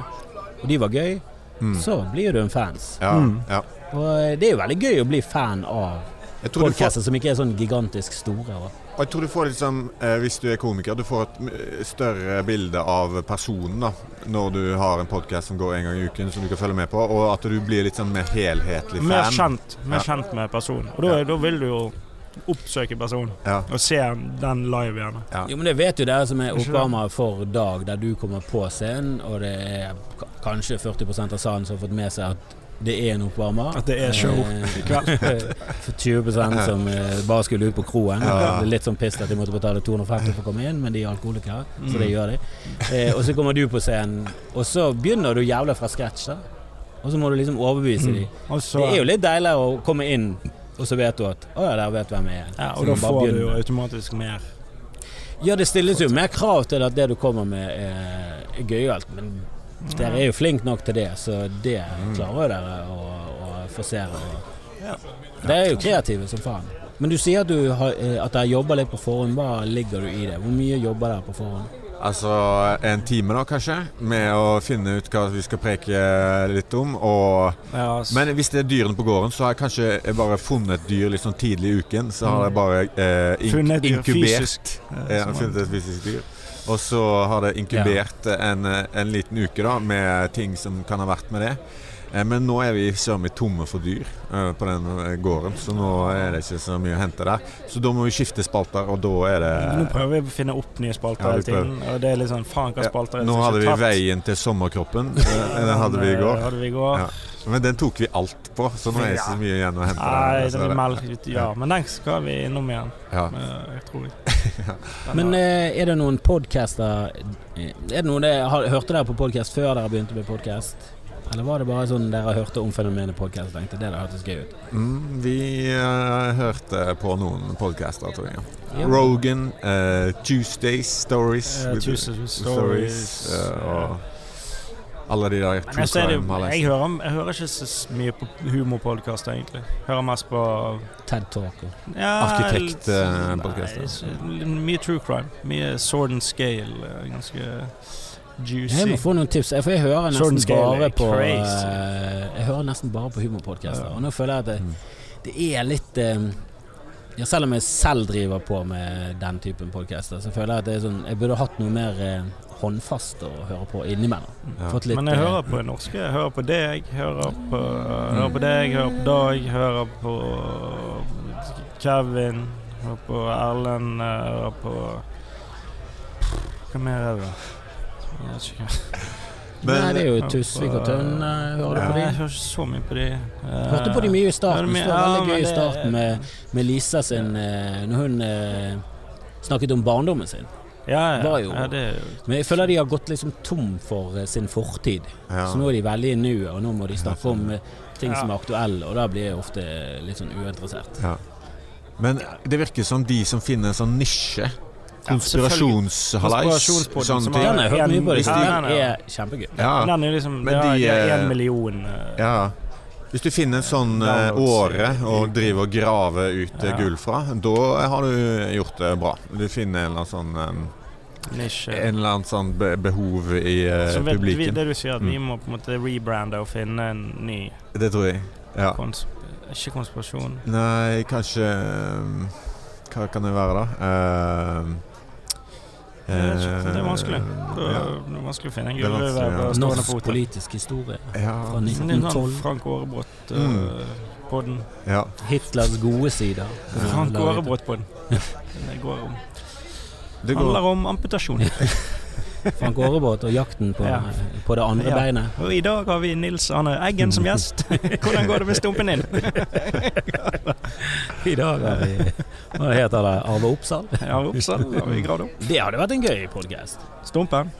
Speaker 1: og de var gøy,
Speaker 3: Mm.
Speaker 1: så blir du en fans.
Speaker 3: Ja,
Speaker 2: Mm.
Speaker 3: ja.
Speaker 1: Og eh, det er jo veldig gøy å bli fan av
Speaker 3: Jeg tror du får
Speaker 1: podcaster som ikke er sånn gigantisk store. Og,
Speaker 3: Og jeg tror du får liksom, eh, hvis du er komiker, du får et eh, større bilde av personen da, når du har en podkast som går en gang i uken som du kan følge med på, og at du blir litt sånn mer helhetlig fan.
Speaker 2: Eh, Mer kjent, mer
Speaker 3: Ja.
Speaker 2: kjent med personen. Og da, da vil du jo oppsøke personen
Speaker 3: Ja,
Speaker 2: og se den live gjerne.
Speaker 3: ja.
Speaker 1: Jo, men det vet jo dere som er
Speaker 2: Ikke det?
Speaker 1: oppvarmere for Dag, der du kommer på scenen, og det er k- kanskje 40 av salen som har fått med seg at det er en oppvarmer.
Speaker 2: At det er show
Speaker 1: Eh,
Speaker 2: [LAUGHS] i kveld.
Speaker 1: [LAUGHS] For 20 som eh, bare skulle ut på kroen.
Speaker 3: Ja.
Speaker 1: Ble Litt sånn pissed at de måtte betale 250 for å komme inn, men de er alkoholikere, så det
Speaker 2: Mm.
Speaker 1: gjør de. Eh, og så kommer du på scenen, og så begynner du jævla fra scratch, da. Og så må du liksom overbevise
Speaker 2: Mm.
Speaker 1: de.
Speaker 2: Og så,
Speaker 1: Det er jo litt deiligere å komme inn, og så vet du at Å ja, der vet hvem jeg er.
Speaker 2: ja,
Speaker 1: Så
Speaker 2: og da
Speaker 1: bare
Speaker 2: får du
Speaker 1: begynner.
Speaker 2: jo automatisk mer.
Speaker 1: Ja, det stilles jo mer krav til at det du kommer med er er gøyalt, men dere er jo flinke nok til det, så det klarer jo dere å, å forsere.
Speaker 2: Ja.
Speaker 1: Dere er jo kreative som faen. Men du sier at, du har, eh, at dere jobber litt på forhånd. Hva ligger du i det? Hvor mye jobber dere på forhånd?
Speaker 3: Altså en time, da, kanskje, med å finne ut hva vi skal preke litt om. Og,
Speaker 2: Ja, s-
Speaker 3: men hvis det er dyrene på gården, så har jeg kanskje jeg bare funnet et dyr litt sånn tidlig i uken. Så har jeg bare eh, ink
Speaker 2: funnet dyr
Speaker 3: inkubert
Speaker 2: fysisk. eh,
Speaker 3: Ja, han funnet et fysisk dyr. Og så har det inkubert en, en liten uke da, med ting som kan ha vært med det. Eh, Men nå er vi søren meg tomme for dyr eh, på den eh, gården, så nå er det ikke så mye å hente der. Så da må vi skifte spalter, og da er det
Speaker 2: Nå prøver vi å finne opp nye spalter
Speaker 3: Eh, Ja,
Speaker 2: hele
Speaker 3: vi
Speaker 2: tiden. Og det er litt sånn faen hva
Speaker 3: Ja,
Speaker 2: spalter er det
Speaker 3: Nå
Speaker 2: som ikke
Speaker 3: hadde vi
Speaker 2: er tatt?
Speaker 3: Veien til sommerkroppen. eh, Den hadde vi i
Speaker 2: Den, eh,
Speaker 3: går.
Speaker 2: hadde vi i går.
Speaker 3: Ja. Men den tok vi alt på, så nå er det ikke så mye igjen å hente. der,
Speaker 2: Nei, det
Speaker 3: dessverre.
Speaker 2: blir melk ut. Ja, men den skal vi innom igjen.
Speaker 3: ja.
Speaker 2: eh, Jeg
Speaker 3: [LAUGHS]
Speaker 2: tror jeg. Den
Speaker 1: Men
Speaker 2: er-
Speaker 1: eh, er det noen podcaster eh, Er det noen dere har, Hørte dere på podkast før dere begynte med podkast? Eller var det bare sånn dere hørte om fenomenet podkast og tenkte det der hørtes gøy ut?
Speaker 3: Mm, vi eh, hørte på noen podcaster, tror jeg.
Speaker 1: Ja.
Speaker 3: Rogan, eh, Tuesdays Stories.
Speaker 2: Eh,
Speaker 3: with-
Speaker 2: Tuesdays with Stories,
Speaker 3: eh, og alle de der
Speaker 2: Men
Speaker 3: true
Speaker 2: jeg, ser det, jo-
Speaker 3: crime har
Speaker 2: jeg,
Speaker 3: lest.
Speaker 2: hører, jeg hører ikke så s- mye på humorpodkaster, egentlig. Hører mest på
Speaker 1: TED Talk og
Speaker 2: ja,
Speaker 3: Arkitekt,
Speaker 2: litt-
Speaker 3: eh, podcaster.
Speaker 2: nei, så- Mye true crime. Mye sword and scale. eh, Ganske
Speaker 1: Jeg må
Speaker 2: juicy.
Speaker 1: få noen tips, for jeg hører nesten
Speaker 2: Jordan Scale
Speaker 1: bare
Speaker 2: er
Speaker 1: på
Speaker 2: crazy.
Speaker 1: eh, Jeg hører nesten bare på humorpodkaster.
Speaker 2: Ja.
Speaker 1: Og nå føler jeg at
Speaker 3: Mm.
Speaker 1: det, det er litt eh, ja, Selv om jeg selv driver på med den typen podkaster, så føler jeg at det er sånn, jeg burde hatt noe mer eh, håndfast å høre på innimellom.
Speaker 3: Ja.
Speaker 1: Fått litt,
Speaker 2: Men jeg
Speaker 1: eh,
Speaker 2: hører på norske. Jeg hører på deg, hører på, hører på deg, hører på Dag, hører på Kevin, hører på Erlend, eh, hører på Hva mer er det? Jeg vet ikke.
Speaker 3: Men-
Speaker 1: Nei, det er jo
Speaker 2: Hører på-
Speaker 1: Tusvik og Tønne. eh, Hører du
Speaker 2: Nei,
Speaker 1: på
Speaker 2: jeg
Speaker 1: de?
Speaker 2: hører ikke så mye på de. Eh,
Speaker 1: Hørte på de mye i starten.
Speaker 2: men-
Speaker 1: Det var
Speaker 2: ja,
Speaker 1: veldig
Speaker 2: men
Speaker 1: gøy i
Speaker 2: det-
Speaker 1: starten med, med Lisa sin eh, Når hun eh, snakket om barndommen sin.
Speaker 2: Ja, ja.
Speaker 1: var jo-
Speaker 2: ja det er jo
Speaker 1: Men jeg føler de har gått liksom tom for eh, sin fortid.
Speaker 3: Ja.
Speaker 1: Så nå er de veldig i nuet, og nå må de snakke om eh, ting
Speaker 2: Ja.
Speaker 1: som er aktuelle, og da blir jeg ofte litt sånn uinteressert.
Speaker 3: Ja. Men det virker som de som finner en sånn nisje, konspirasjonshallais,
Speaker 2: Konspirasjonspodden
Speaker 3: sånne
Speaker 2: som
Speaker 3: ting.
Speaker 2: har-
Speaker 1: Den har jeg hørt mye på.
Speaker 3: hvis
Speaker 1: Den
Speaker 3: de-
Speaker 1: er,
Speaker 2: Ja, ja, ja.
Speaker 1: kjempegøy.
Speaker 3: Ja,
Speaker 2: Den er jo liksom
Speaker 3: Men
Speaker 2: Det er-
Speaker 3: de,
Speaker 2: det er
Speaker 3: eh,
Speaker 2: én million eh,
Speaker 3: ja. Hvis du finner en sånn eh, åre og driver og graver ut eh,
Speaker 2: Ja.
Speaker 3: gull fra, da har du gjort det bra. Du finner en eller annen sånn, eh,
Speaker 2: nisjer.
Speaker 3: en eller annen sånn be behov i eh, Mm.
Speaker 2: Så vet vi,
Speaker 3: publikken.
Speaker 2: det du sier, at vi må på en måte rebrande og finne en ny
Speaker 3: Det tror jeg. Ja. Eh,
Speaker 2: kons Ikke konspirasjon.
Speaker 3: Nei, kanskje um, Hva kan det være, da? Um,
Speaker 2: Jeg vet ikke, det er vanskelig.
Speaker 3: um,
Speaker 2: Det
Speaker 3: ja.
Speaker 2: er vanskelig å finne en
Speaker 3: Det er vanskelig, ja.
Speaker 2: gullgruve
Speaker 1: Norsk
Speaker 2: på stående fot.
Speaker 1: politisk historie
Speaker 3: Ja.
Speaker 1: fra
Speaker 2: Sånn en sånn
Speaker 1: 1912.
Speaker 2: Frank eh,
Speaker 3: Mm.
Speaker 2: Aarebrot-podden.
Speaker 3: ja.
Speaker 1: Hitlers gode sider. Eh,
Speaker 2: Frank [LAUGHS] Aarebrot-podden. Det går om
Speaker 3: Det går. [LAUGHS]
Speaker 2: handler om amputasjon.
Speaker 1: Frank Aarebot og jakten på, eh,
Speaker 2: Ja.
Speaker 1: på det andre
Speaker 2: Ja.
Speaker 1: beinet.
Speaker 2: Og i dag har vi Nils Arne Eggen som
Speaker 3: [LAUGHS]
Speaker 2: gjest. Hvordan går det med stumpen din?
Speaker 1: I dag har vi [LAUGHS] Hva heter det? Arve Oppsal?
Speaker 2: Ja, Oppsal har vi gravd opp.
Speaker 1: Det hadde vært en gøy podkast.
Speaker 2: Stumpen.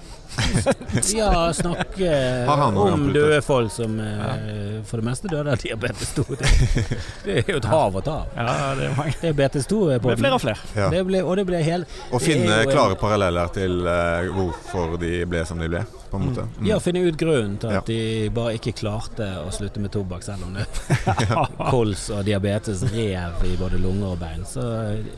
Speaker 1: Ja, snakke
Speaker 3: [LAUGHS] Har han noen
Speaker 1: om
Speaker 3: amputer?
Speaker 1: døde folk som eh, for det meste døde av diabetes 2. Det, det er jo et hav å ta av.
Speaker 2: Ja, det er mange.
Speaker 1: Diabetes 2 er
Speaker 2: Det
Speaker 1: på
Speaker 2: er flere og flere.
Speaker 3: Ja.
Speaker 1: Det ble, og det ble helt
Speaker 3: Å
Speaker 1: Det er
Speaker 3: finne
Speaker 1: jo en-
Speaker 3: klare paralleller til eh, hvorfor de ble som de ble, på en måte. Mm.
Speaker 1: Ja, finne ut grunnen til at de bare ikke klarte å slutte med tobakk, selv
Speaker 3: [LAUGHS]
Speaker 1: om det [LAUGHS] kols og diabetes rev i både lunger og bein. Så eh,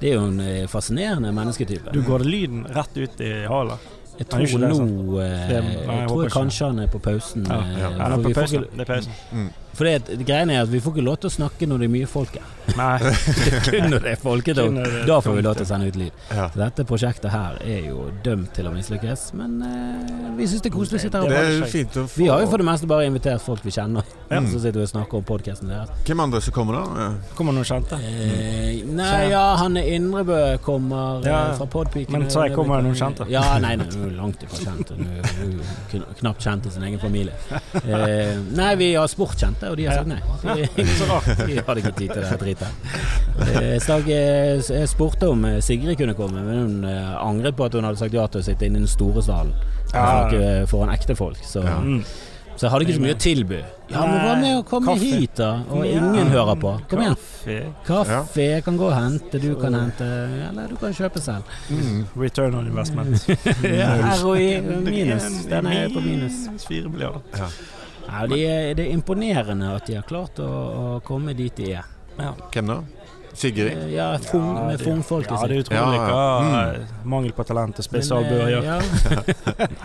Speaker 1: det er jo en eh, fascinerende mennesketype.
Speaker 2: Du går lyden rett ut i halen.
Speaker 1: Jeg
Speaker 2: Han er
Speaker 1: tror
Speaker 2: ikke det,
Speaker 1: nå eh,
Speaker 2: Det er- nei, jeg
Speaker 1: Jeg
Speaker 2: håper
Speaker 1: tror
Speaker 2: ikke.
Speaker 1: kanskje han er på pausen.
Speaker 2: Ja.
Speaker 1: eh,
Speaker 3: Ja,
Speaker 1: for
Speaker 2: Ja, det er
Speaker 1: vi får
Speaker 2: på pausen.
Speaker 1: ikke-
Speaker 2: Det er pausen.
Speaker 3: Mm.
Speaker 1: For det, greien er at vi får ikke lov til å snakke når det er mye folk her.
Speaker 2: Nei.
Speaker 1: Kun når det er folketomt.
Speaker 2: Kun når det er
Speaker 1: Da får vi
Speaker 2: tomt,
Speaker 1: lov til å sende ut lyd.
Speaker 3: Ja.
Speaker 1: Så dette prosjektet her er jo dømt til å mislykkes, men eh, vi syns det er koselig å sitte her. og
Speaker 3: Det
Speaker 1: prate.
Speaker 3: er jo fint å få
Speaker 1: Vi har jo for det meste bare invitert folk vi kjenner, [LAUGHS]
Speaker 3: Ja.
Speaker 1: så sitter vi og snakker om podkasten deres.
Speaker 3: Hvem andre som kommer da?
Speaker 2: Kommer noen kjente?
Speaker 1: Eh, nei, ja, Hanne Indrebø kommer eh,
Speaker 2: Ja.
Speaker 1: fra Podpiken.
Speaker 2: Men sa jeg kommer noen kjente?
Speaker 1: Ja, nei, nei, hun er langt ifra kjent. Hun er- hun er kn- knapt kjent i sin egen
Speaker 2: [LAUGHS]
Speaker 1: familie. Eh, nei, vi har spurt kjente, og de har sagt nei.
Speaker 2: [LAUGHS]
Speaker 1: De,
Speaker 2: Så
Speaker 1: [LAUGHS]
Speaker 2: rart.
Speaker 1: de hadde ikke tid til det dritet. [LAUGHS] Eh, jeg snak- eh, s- jeg spurte om eh, Sigrid kunne komme, men hun eh, angret på at hun hadde sagt ja til å sitte inne i den store salen.
Speaker 2: Ja.
Speaker 1: og snakke Foran ekte folk. Så
Speaker 3: Ja.
Speaker 2: Mm.
Speaker 1: så jeg hadde ikke så mye å tilby. Ja, men hva med å komme
Speaker 2: Kaffe.
Speaker 1: hit, da? Og ingen hører på. Kom igjen.
Speaker 2: Kaffe.
Speaker 1: Kaffe jeg kan gå og hente, du kan hente Eller du kan kjøpe [LAUGHS] selv.
Speaker 3: Mm.
Speaker 2: Return on
Speaker 1: [LAUGHS]
Speaker 2: investment.
Speaker 1: ROI minus. Den er på minus.
Speaker 2: Fire milliarder.
Speaker 1: Ja, de er, det er imponerende at de har klart å, å komme dit de er. Eh,
Speaker 3: Hvem da? Sigrid?
Speaker 1: Ja, fung, med fungfolket
Speaker 2: Ja, det er utrolig
Speaker 3: Ja,
Speaker 2: hva
Speaker 3: ja.
Speaker 2: eh, mangel på talent og
Speaker 1: Men,
Speaker 2: spissalbuer
Speaker 1: eh,
Speaker 2: gjør. [LAUGHS]
Speaker 1: ja.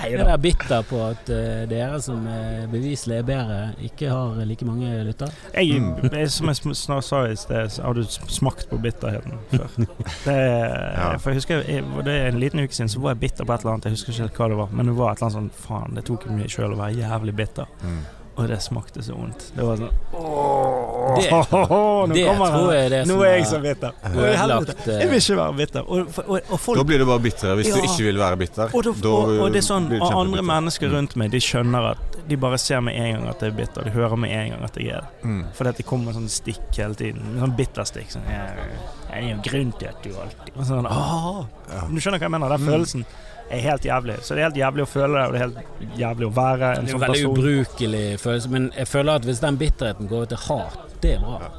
Speaker 1: Jeg er der bitter på at eh, dere som eh, beviselig er bedre, ikke har eh, like mange lyttere.
Speaker 2: Jeg,
Speaker 3: Mm.
Speaker 2: jeg, som jeg sm- snar- sa i sted, så har du sm- smakt på bitterheten før. Det,
Speaker 3: Ja.
Speaker 2: er- for jeg husker jeg, det er En liten uke siden så var jeg bitter på et eller annet. Jeg husker ikke helt hva det var, men det var et eller annet sånn Faen, det tok meg sjøl å være jævlig bitter.
Speaker 1: Eh.
Speaker 3: Mm.
Speaker 2: Og det smakte så vondt. Det var sånn
Speaker 1: Det-
Speaker 2: åh, [LAUGHS] nå
Speaker 1: det
Speaker 2: kommer han.
Speaker 1: tror jeg det
Speaker 2: Nå
Speaker 1: som
Speaker 2: er jeg
Speaker 1: har
Speaker 2: så bitter. Nå er jeg helvete.
Speaker 1: ødelagt eh,
Speaker 2: Jeg vil ikke være bitter. Og, og, og folk
Speaker 3: Da blir du bare bitter hvis
Speaker 2: Ja.
Speaker 3: du ikke vil være bitter.
Speaker 2: Og, da, og, og det er sånn,
Speaker 3: blir du
Speaker 2: og andre
Speaker 3: kjempebitter.
Speaker 2: mennesker rundt meg De skjønner at De bare ser med en gang at jeg er bitter. De hører med en gang at jeg er det.
Speaker 3: Mm.
Speaker 2: Fordi at det kommer sånn stikk hele tiden. Sånn bitterstikk. Sånn, ja, det er jo grunn til at du alltid og sånn, «Åh!»
Speaker 3: Ja.
Speaker 2: Du skjønner hva jeg mener? Den
Speaker 3: Mm.
Speaker 2: følelsen er helt jævlig. Så det er helt jævlig å føle det, og det er helt jævlig å være en
Speaker 1: Det er
Speaker 2: sånn
Speaker 1: en veldig
Speaker 2: person.
Speaker 1: ubrukelig følelse, men jeg føler at hvis den bitterheten går over til hat, det er bra.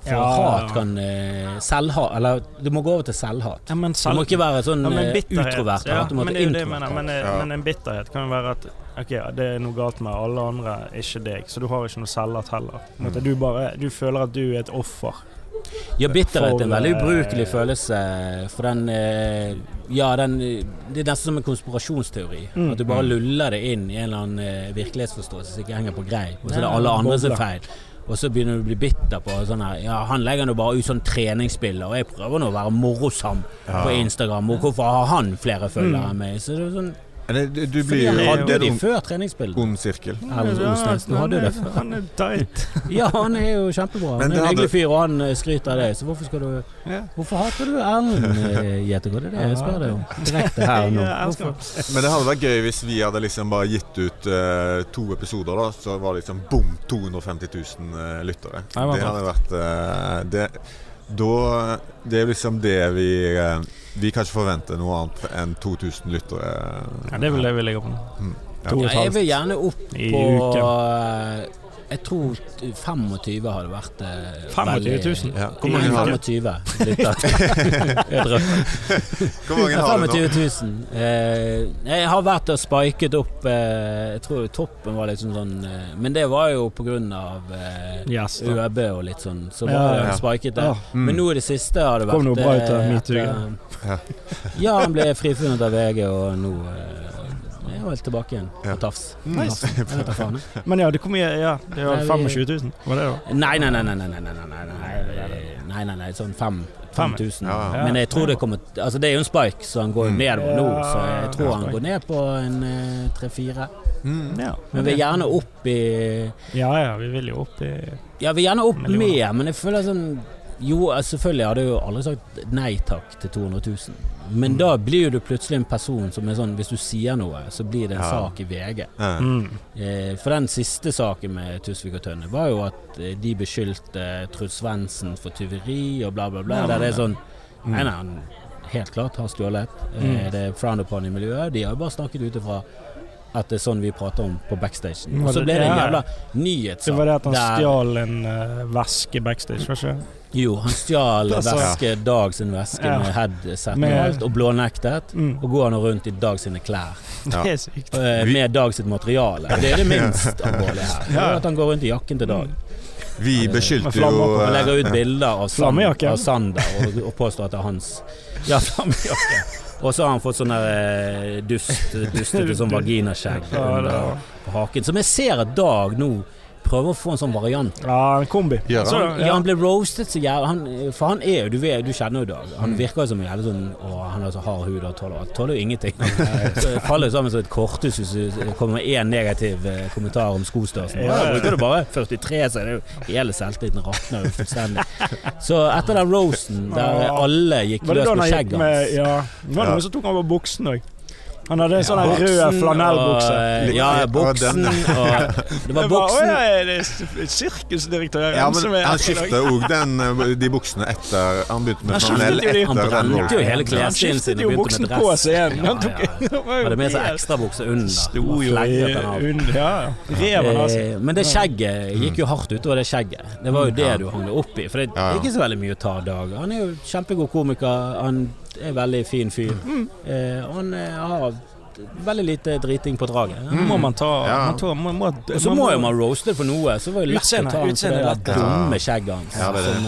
Speaker 1: For
Speaker 2: Ja.
Speaker 1: hat kan eh, Selvhat Eller det må gå over til selvhat.
Speaker 2: Ja, men
Speaker 1: Det må
Speaker 2: selv-
Speaker 1: ikke være sånn
Speaker 2: Ja, men
Speaker 1: eh,
Speaker 2: bitterhet-
Speaker 1: utrovert
Speaker 2: ja,
Speaker 1: hat, det må være
Speaker 2: men det er jo det jeg
Speaker 1: introvert
Speaker 2: mener, men,
Speaker 1: hat.
Speaker 2: eh,
Speaker 3: Ja.
Speaker 2: men en bitterhet kan jo være at Ok, det er noe galt med alle andre, ikke deg. Så du har ikke noe selvhat heller. På en måte, Du, bare, du føler at du er et offer.
Speaker 1: Ja, bitterhet er en
Speaker 2: for,
Speaker 1: veldig
Speaker 2: eh,
Speaker 1: ubrukelig følelse, for den eh, Ja, den eh, Det er nesten som en konspirasjonsteori.
Speaker 2: Mm.
Speaker 1: At du bare luller det inn i en eller annen eh, virkelighetsforståelse som ikke henger på greip, og så er det
Speaker 2: Ja,
Speaker 1: alle andre som
Speaker 2: bobler.
Speaker 1: er feil. Og så begynner du å bli bitter på sånn her Ja, han legger nå bare ut sånn treningsbilder, og jeg prøver nå å være morsom på Instagram, og hvorfor har han flere følgere enn meg? Så det er sånn
Speaker 3: Eller, du, du blir
Speaker 1: Fordi
Speaker 3: jo
Speaker 1: han
Speaker 3: det
Speaker 1: hadde
Speaker 3: er
Speaker 1: de
Speaker 3: en ond-
Speaker 1: før treningsbildene.
Speaker 3: ond sirkel.
Speaker 1: Erlend Osnes, nå hadde du det før.
Speaker 2: Han er tight.
Speaker 1: [LAUGHS] Ja, han er jo kjempebra.
Speaker 3: Men
Speaker 1: Han er
Speaker 3: det
Speaker 1: en
Speaker 3: hadde-
Speaker 1: hyggelig fyr, og han eh, skryter av deg, så hvorfor skal du Hvorfor hater du
Speaker 3: [LAUGHS]
Speaker 1: Erlend Gjetegård? Det er det jeg spør deg om. Direkte her og nå.
Speaker 2: Jeg elsker han.
Speaker 3: Men det hadde vært gøy hvis vi hadde liksom bare gitt ut eh, to episoder, da. Så var det liksom bom 250 000 eh, lyttere.
Speaker 2: Nei, hva
Speaker 3: det hadde vært eh, det, da, det er liksom det vi eh, Vi kan ikke forvente noe annet enn 2000 lyttere.
Speaker 2: Ja, det er vel det vi ligger på nå.
Speaker 3: Mm.
Speaker 2: To
Speaker 1: Ja,
Speaker 2: og et
Speaker 1: jeg
Speaker 2: halvt.
Speaker 1: vil gjerne opp
Speaker 2: I
Speaker 1: på
Speaker 2: uken.
Speaker 1: eh, Jeg tror t- 25 hadde vært eh,
Speaker 2: 25 000?
Speaker 3: Ja. Hvor
Speaker 1: Hvor
Speaker 3: mange har du?
Speaker 1: 25
Speaker 3: [LAUGHS]
Speaker 1: lytter.
Speaker 3: Hvor mange
Speaker 1: Ja,
Speaker 3: har du nå?
Speaker 1: 25 000. Eh, jeg har vært og spiket opp eh, Jeg tror toppen var liksom sånn eh, Men det var jo på grunn av eh,
Speaker 2: Yes, da.
Speaker 1: UAB og litt sånn, så
Speaker 2: Ja,
Speaker 1: var
Speaker 2: ja,
Speaker 1: det
Speaker 3: ja.
Speaker 1: spiket
Speaker 2: Ja.
Speaker 1: der.
Speaker 3: Mm.
Speaker 1: Men nå i det siste har det vært
Speaker 2: Kom noe bra ut av
Speaker 1: eh,
Speaker 2: metoo,
Speaker 1: etter-
Speaker 3: ja.
Speaker 1: [LAUGHS] Ja, han ble frifunnet av VG, og nå eh, er han vel tilbake igjen
Speaker 3: Ja.
Speaker 1: på tafs.
Speaker 2: Nice.
Speaker 1: Jeg vet da faen. jeg.
Speaker 2: Men ja, det kom mye Ja, det var
Speaker 1: Nei, vi-
Speaker 2: 25 000. Var det det?
Speaker 1: Nei, nei, nei, nei, nei, nei, nei, nei, nei, nei, nei, nei sånn fem.
Speaker 2: Fem.
Speaker 1: 5000.
Speaker 3: Ja,
Speaker 2: ja.
Speaker 1: Men jeg tror det kommer Altså det er jo en spike, så han går jo
Speaker 3: Mm.
Speaker 1: nedover nå. Så jeg tror
Speaker 2: Ja,
Speaker 1: han
Speaker 2: spike.
Speaker 1: går ned på en eh, tre-fire.
Speaker 3: Mm.
Speaker 2: da? Ja.
Speaker 1: Men vi er gjerne opp i
Speaker 2: Ja ja, vi vil jo opp i
Speaker 1: Ja, vi er gjerne opp
Speaker 2: Millioner.
Speaker 1: mer, men jeg føler sånn Jo, eh, selvfølgelig hadde jeg jo aldri sagt nei takk til 200 000.
Speaker 2: Mm.
Speaker 1: Men da blir jo du plutselig en person som er sånn Hvis du sier noe, så blir det en
Speaker 3: Ja.
Speaker 1: sak i VG.
Speaker 3: Eh,
Speaker 2: Mm.
Speaker 1: Eh, For den siste saken med Tusvik og Tønne var jo at eh, de beskyldte Truls Svendsen for tyveri og bla, bla, bla.
Speaker 2: Ja,
Speaker 1: der det er sånn
Speaker 3: Mm.
Speaker 1: Nei, nei, han helt klart har stjålet. Eh,
Speaker 2: Mm.
Speaker 1: Det er frowned upon i miljøet. De har jo bare snakket ut ifra at det er sånn vi prater om på backstagen.
Speaker 2: Mm,
Speaker 1: Og så ble det en
Speaker 2: ja.
Speaker 1: jævla
Speaker 2: Det
Speaker 1: nyhetssak.
Speaker 2: var det at han
Speaker 1: der-
Speaker 2: stjal en eh, veske backstage, var ikke det?
Speaker 1: Jo, han
Speaker 2: [LAUGHS]
Speaker 1: stjal
Speaker 2: Det sa jeg.
Speaker 1: veske, Dag sin veske
Speaker 2: Ja.
Speaker 1: med headset og
Speaker 2: Med-
Speaker 1: alt, og blånektet.
Speaker 2: Mm.
Speaker 1: Og går han rundt i Dag sine klær,
Speaker 3: Ja.
Speaker 2: Det er sykt.
Speaker 1: eh,
Speaker 3: Vi-
Speaker 1: med Dag sitt materiale. Det er det minst alvorlige her. Det er At han går rundt i jakken til Dag.
Speaker 3: Vi beskyldte
Speaker 2: Flammer
Speaker 3: jo
Speaker 2: på
Speaker 1: Han
Speaker 3: eh,
Speaker 1: legger ut bilder av, sand,
Speaker 2: Flammejakke.
Speaker 1: av Sander og, og påstår at det er hans Ja, flammejakke. Og så har han fått sånn der eh, dust, dustete
Speaker 2: [LAUGHS]
Speaker 1: sånn vaginaskjegg
Speaker 2: Ja, det
Speaker 1: under
Speaker 2: var.
Speaker 1: på haken. Som jeg ser at Dag nå prøver å få en sånn variant
Speaker 2: ja, en kombi.
Speaker 3: Gjør
Speaker 2: Så,
Speaker 3: han?
Speaker 1: Ja,
Speaker 2: ja.
Speaker 1: han ble roastet så jævlig han, For han er jo, du, vet, du kjenner jo Dag
Speaker 2: Mm.
Speaker 1: Han virker jo som en jævlig sånn Å, han har så hard hud og tåler Han tåler jo ingenting Så det faller jo sammen som et korthus Hvis du kommer med en negativ eh, kommentar om skostørsen
Speaker 2: Ja.
Speaker 1: Da bruker du bare 43 Så er det jo hele selvtilliten rakner jo fullstendig Så etter den roasten Der
Speaker 2: Ja.
Speaker 1: alle gikk
Speaker 2: Var det
Speaker 1: løs
Speaker 2: da
Speaker 1: på
Speaker 2: han gikk
Speaker 1: skjegget
Speaker 2: med
Speaker 1: hans
Speaker 2: Ja. Det var
Speaker 3: Ja.
Speaker 2: noen som tok over buksen òg. Han hadde en sånn
Speaker 1: Ja,
Speaker 2: der rød
Speaker 1: buksen
Speaker 2: flanellbukse.
Speaker 1: og, eh, Ja,
Speaker 3: Ja,
Speaker 1: buksen
Speaker 3: den,
Speaker 2: [LAUGHS]
Speaker 1: og, Det var
Speaker 2: Jeg bare,
Speaker 1: buksen
Speaker 2: «Å, ja, er det sirkusdirektøren
Speaker 3: Ja, men
Speaker 2: som er
Speaker 3: han skiftet òg eh, de buksene etter Han begynte med
Speaker 2: Han skiftet
Speaker 3: flanell
Speaker 2: jo de-
Speaker 3: etter
Speaker 1: Han
Speaker 3: den
Speaker 1: brente jo
Speaker 3: rollen.
Speaker 1: hele
Speaker 2: Han
Speaker 1: klesstilen sin og
Speaker 2: skiftet
Speaker 1: begynte med
Speaker 2: jo buksen
Speaker 1: dress.
Speaker 2: på seg igjen.
Speaker 1: Ja,
Speaker 2: Han tok,
Speaker 1: ja, ja.
Speaker 2: [LAUGHS] det var jo
Speaker 1: Hadde med seg
Speaker 2: helt-
Speaker 1: ekstrabukse under.
Speaker 2: Sto
Speaker 1: Og
Speaker 2: jo i
Speaker 1: flegget den av.
Speaker 2: under Ja, reven altså.
Speaker 1: Eh, Men det skjegget gikk jo hardt utover det skjegget. Det var jo det du hang deg opp i. For det
Speaker 3: Ja,
Speaker 1: er
Speaker 3: ja.
Speaker 1: ikke så veldig mye å ta Dag. Han er jo kjempegod komiker. Han er veldig fin fyr.
Speaker 2: Mm.
Speaker 1: Eh, og han eh, har veldig lite driting på draget.
Speaker 2: Mm. Må man ta
Speaker 3: Ja.
Speaker 2: man tar- må- må-
Speaker 1: Og så må jo man roaste det for noe. Så var det lett
Speaker 2: Utseende,
Speaker 1: å ta han for det
Speaker 2: utseende,
Speaker 1: der dumme skjegget hans.
Speaker 3: Ja, det er det.
Speaker 1: Som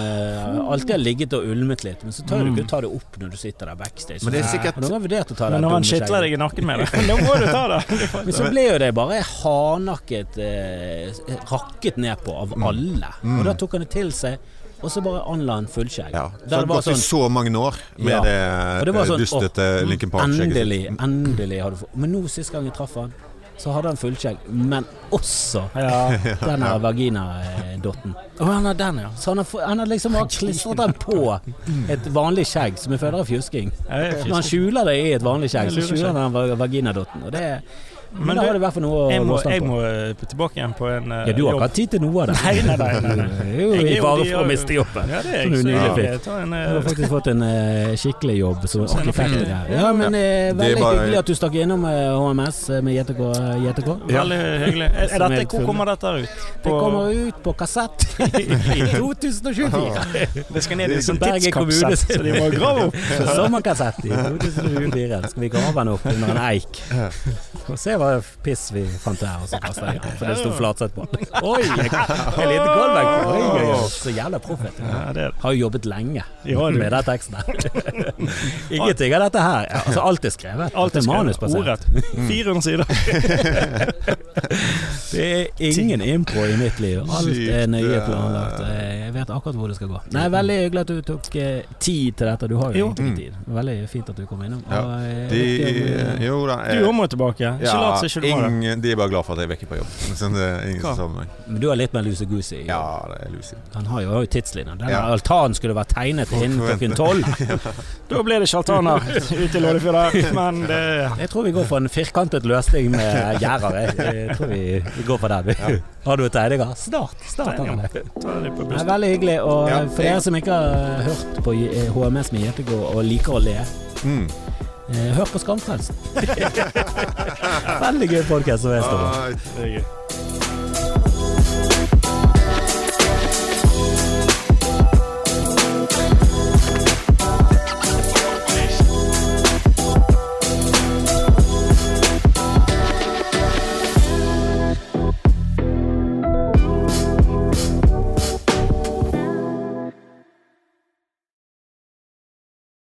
Speaker 1: eh, alltid har ligget og ulmet litt. Men så tør du ikke ta det opp når du sitter der backstage.
Speaker 3: Men det er sikkert-
Speaker 1: Noen har vurdert å ta det
Speaker 2: Mm. Men når han
Speaker 1: dumme skjegget.
Speaker 2: kitler deg i nakken
Speaker 1: [LAUGHS]
Speaker 2: med det, [LAUGHS] da må du ta det.
Speaker 1: Men så ble jo det bare hardnakket eh, rakket ned på av alle. Og da tok han det til seg, og så bare anla han fullskjegg.
Speaker 3: Ja.
Speaker 1: Der
Speaker 3: Så det
Speaker 1: det
Speaker 3: har
Speaker 1: var
Speaker 3: gått i
Speaker 1: sånn
Speaker 3: så mange år med
Speaker 1: Ja. Og
Speaker 3: det,
Speaker 1: det var
Speaker 3: eh,
Speaker 1: sånn,
Speaker 3: dustete Linkin Park-skjegget. sitt.
Speaker 1: Endelig, endelig har du fått Men nå, sist gang jeg traff han, så hadde han fullskjegg, men også
Speaker 2: Ja.
Speaker 1: den her vaginadotten.
Speaker 2: Å, han har den, ja.
Speaker 1: Så han har, få- han har liksom bare klistret den på et vanlig skjegg som er født av fjusking. Når han skjuler det i et vanlig skjegg, så skjuler han den va- vaginadotten. Og det, men,
Speaker 2: Men
Speaker 1: da
Speaker 2: du,
Speaker 1: har det i hvert fall noe
Speaker 2: Jeg
Speaker 1: å
Speaker 2: må,
Speaker 1: roaste
Speaker 2: jeg
Speaker 1: han på.
Speaker 2: må eh, tilbake igjen på en eh,
Speaker 1: Ja, du har
Speaker 2: jobb.
Speaker 1: ikke hatt tid til noe av det.
Speaker 2: Nei, nei, nei. nei, nei.
Speaker 1: [LAUGHS] Det er jo
Speaker 2: Jeg er
Speaker 1: i
Speaker 2: jo-
Speaker 1: fare
Speaker 2: de
Speaker 1: for å
Speaker 2: har jo-
Speaker 1: miste jobben.
Speaker 2: Ja, det er
Speaker 1: Som du
Speaker 2: jeg.
Speaker 1: nylig
Speaker 2: så
Speaker 1: fikk.
Speaker 2: jeg tar en,
Speaker 1: Du har
Speaker 2: eh,
Speaker 1: faktisk fått en eh, skikkelig jobb som
Speaker 2: Sånn,
Speaker 1: arkitekt.
Speaker 2: ja.
Speaker 1: der. Ja, men eh,
Speaker 3: Det er
Speaker 1: veldig
Speaker 3: bare-
Speaker 1: hyggelig at du stakk innom eh, HMS med eh, JTK. JTK.
Speaker 2: Veldig hyggelig. Er,
Speaker 1: Som
Speaker 2: er dette,
Speaker 1: helt
Speaker 2: hvor
Speaker 1: full.
Speaker 2: kommer dette ut?
Speaker 1: Det kommer ut på kassett [LAUGHS]
Speaker 2: [LAUGHS]
Speaker 1: i [LAUGHS] 2024.
Speaker 2: det skal ned i en sånn
Speaker 1: Bergen kommune
Speaker 2: tidskapsel,
Speaker 1: sin.
Speaker 2: så de må grave
Speaker 1: [LAUGHS]
Speaker 2: opp.
Speaker 1: Sommerkassett i 2024. Skal vi grave den opp under en eik og se hva piss vi fant der, og så kaste den. For det sto flatsett på. Oi! En liten callback. Oi, oi, oi. Så jævla proff, vet du.
Speaker 2: Ja, det er det.
Speaker 1: Har jo jobbet lenge
Speaker 2: I radio.
Speaker 1: med den teksten her. Ingenting av dette her. Ja, altså, alt er skrevet.
Speaker 2: Alt er skrevet.
Speaker 1: manusbasert. Mm.
Speaker 2: Ordrett. 400 sider.
Speaker 1: Det er ingen impro i mitt liv. Alt er
Speaker 3: Sykt,
Speaker 1: nøye
Speaker 3: ja.
Speaker 1: planlagt. Eh, Jeg vet akkurat hvor det skal gå. Nei, Veldig hyggelig at du tok eh, tid til dette. Du har jo
Speaker 2: Jo.
Speaker 1: egentlig tid. Veldig fint at du kom innom.
Speaker 3: Ja.
Speaker 1: Og, eh,
Speaker 3: De,
Speaker 1: dere-
Speaker 3: jo da eh,
Speaker 2: Du òg må tilbake. Ikke lat som ikke du må det.
Speaker 3: ingen, de er bare glad for at jeg er vekke på jobb. [LAUGHS] Så det er ingen
Speaker 2: Hva?
Speaker 3: sammenheng.
Speaker 1: men du har litt mer luse goose i.
Speaker 3: Ja, det er Lucy.
Speaker 1: Han har jo har jo tidslinjer. Den
Speaker 3: Ja.
Speaker 1: altanen skulle vært tegnet innen klokken tolv.
Speaker 2: Da blir det
Speaker 1: [LAUGHS]
Speaker 2: sjartaner ute i Loddefjord der, men det
Speaker 1: Jeg tror vi går for en firkantet løsning med gjerder. Jeg, jeg tror vi, vi går for den. Har du et tegninger? Snart. snart har han det.
Speaker 2: Ta det
Speaker 1: Det er
Speaker 2: på bussen.
Speaker 1: veldig hyggelig. Og
Speaker 3: Ja,
Speaker 1: for dere
Speaker 3: jeg-
Speaker 1: som ikke har hørt på eh, HMS med Gjetegård og liker å le,
Speaker 3: Mm.
Speaker 1: eh, hør på Skamfrelsen. [LAUGHS] veldig gøy podkast som jeg står på.
Speaker 3: Ah,
Speaker 2: Det er gøy.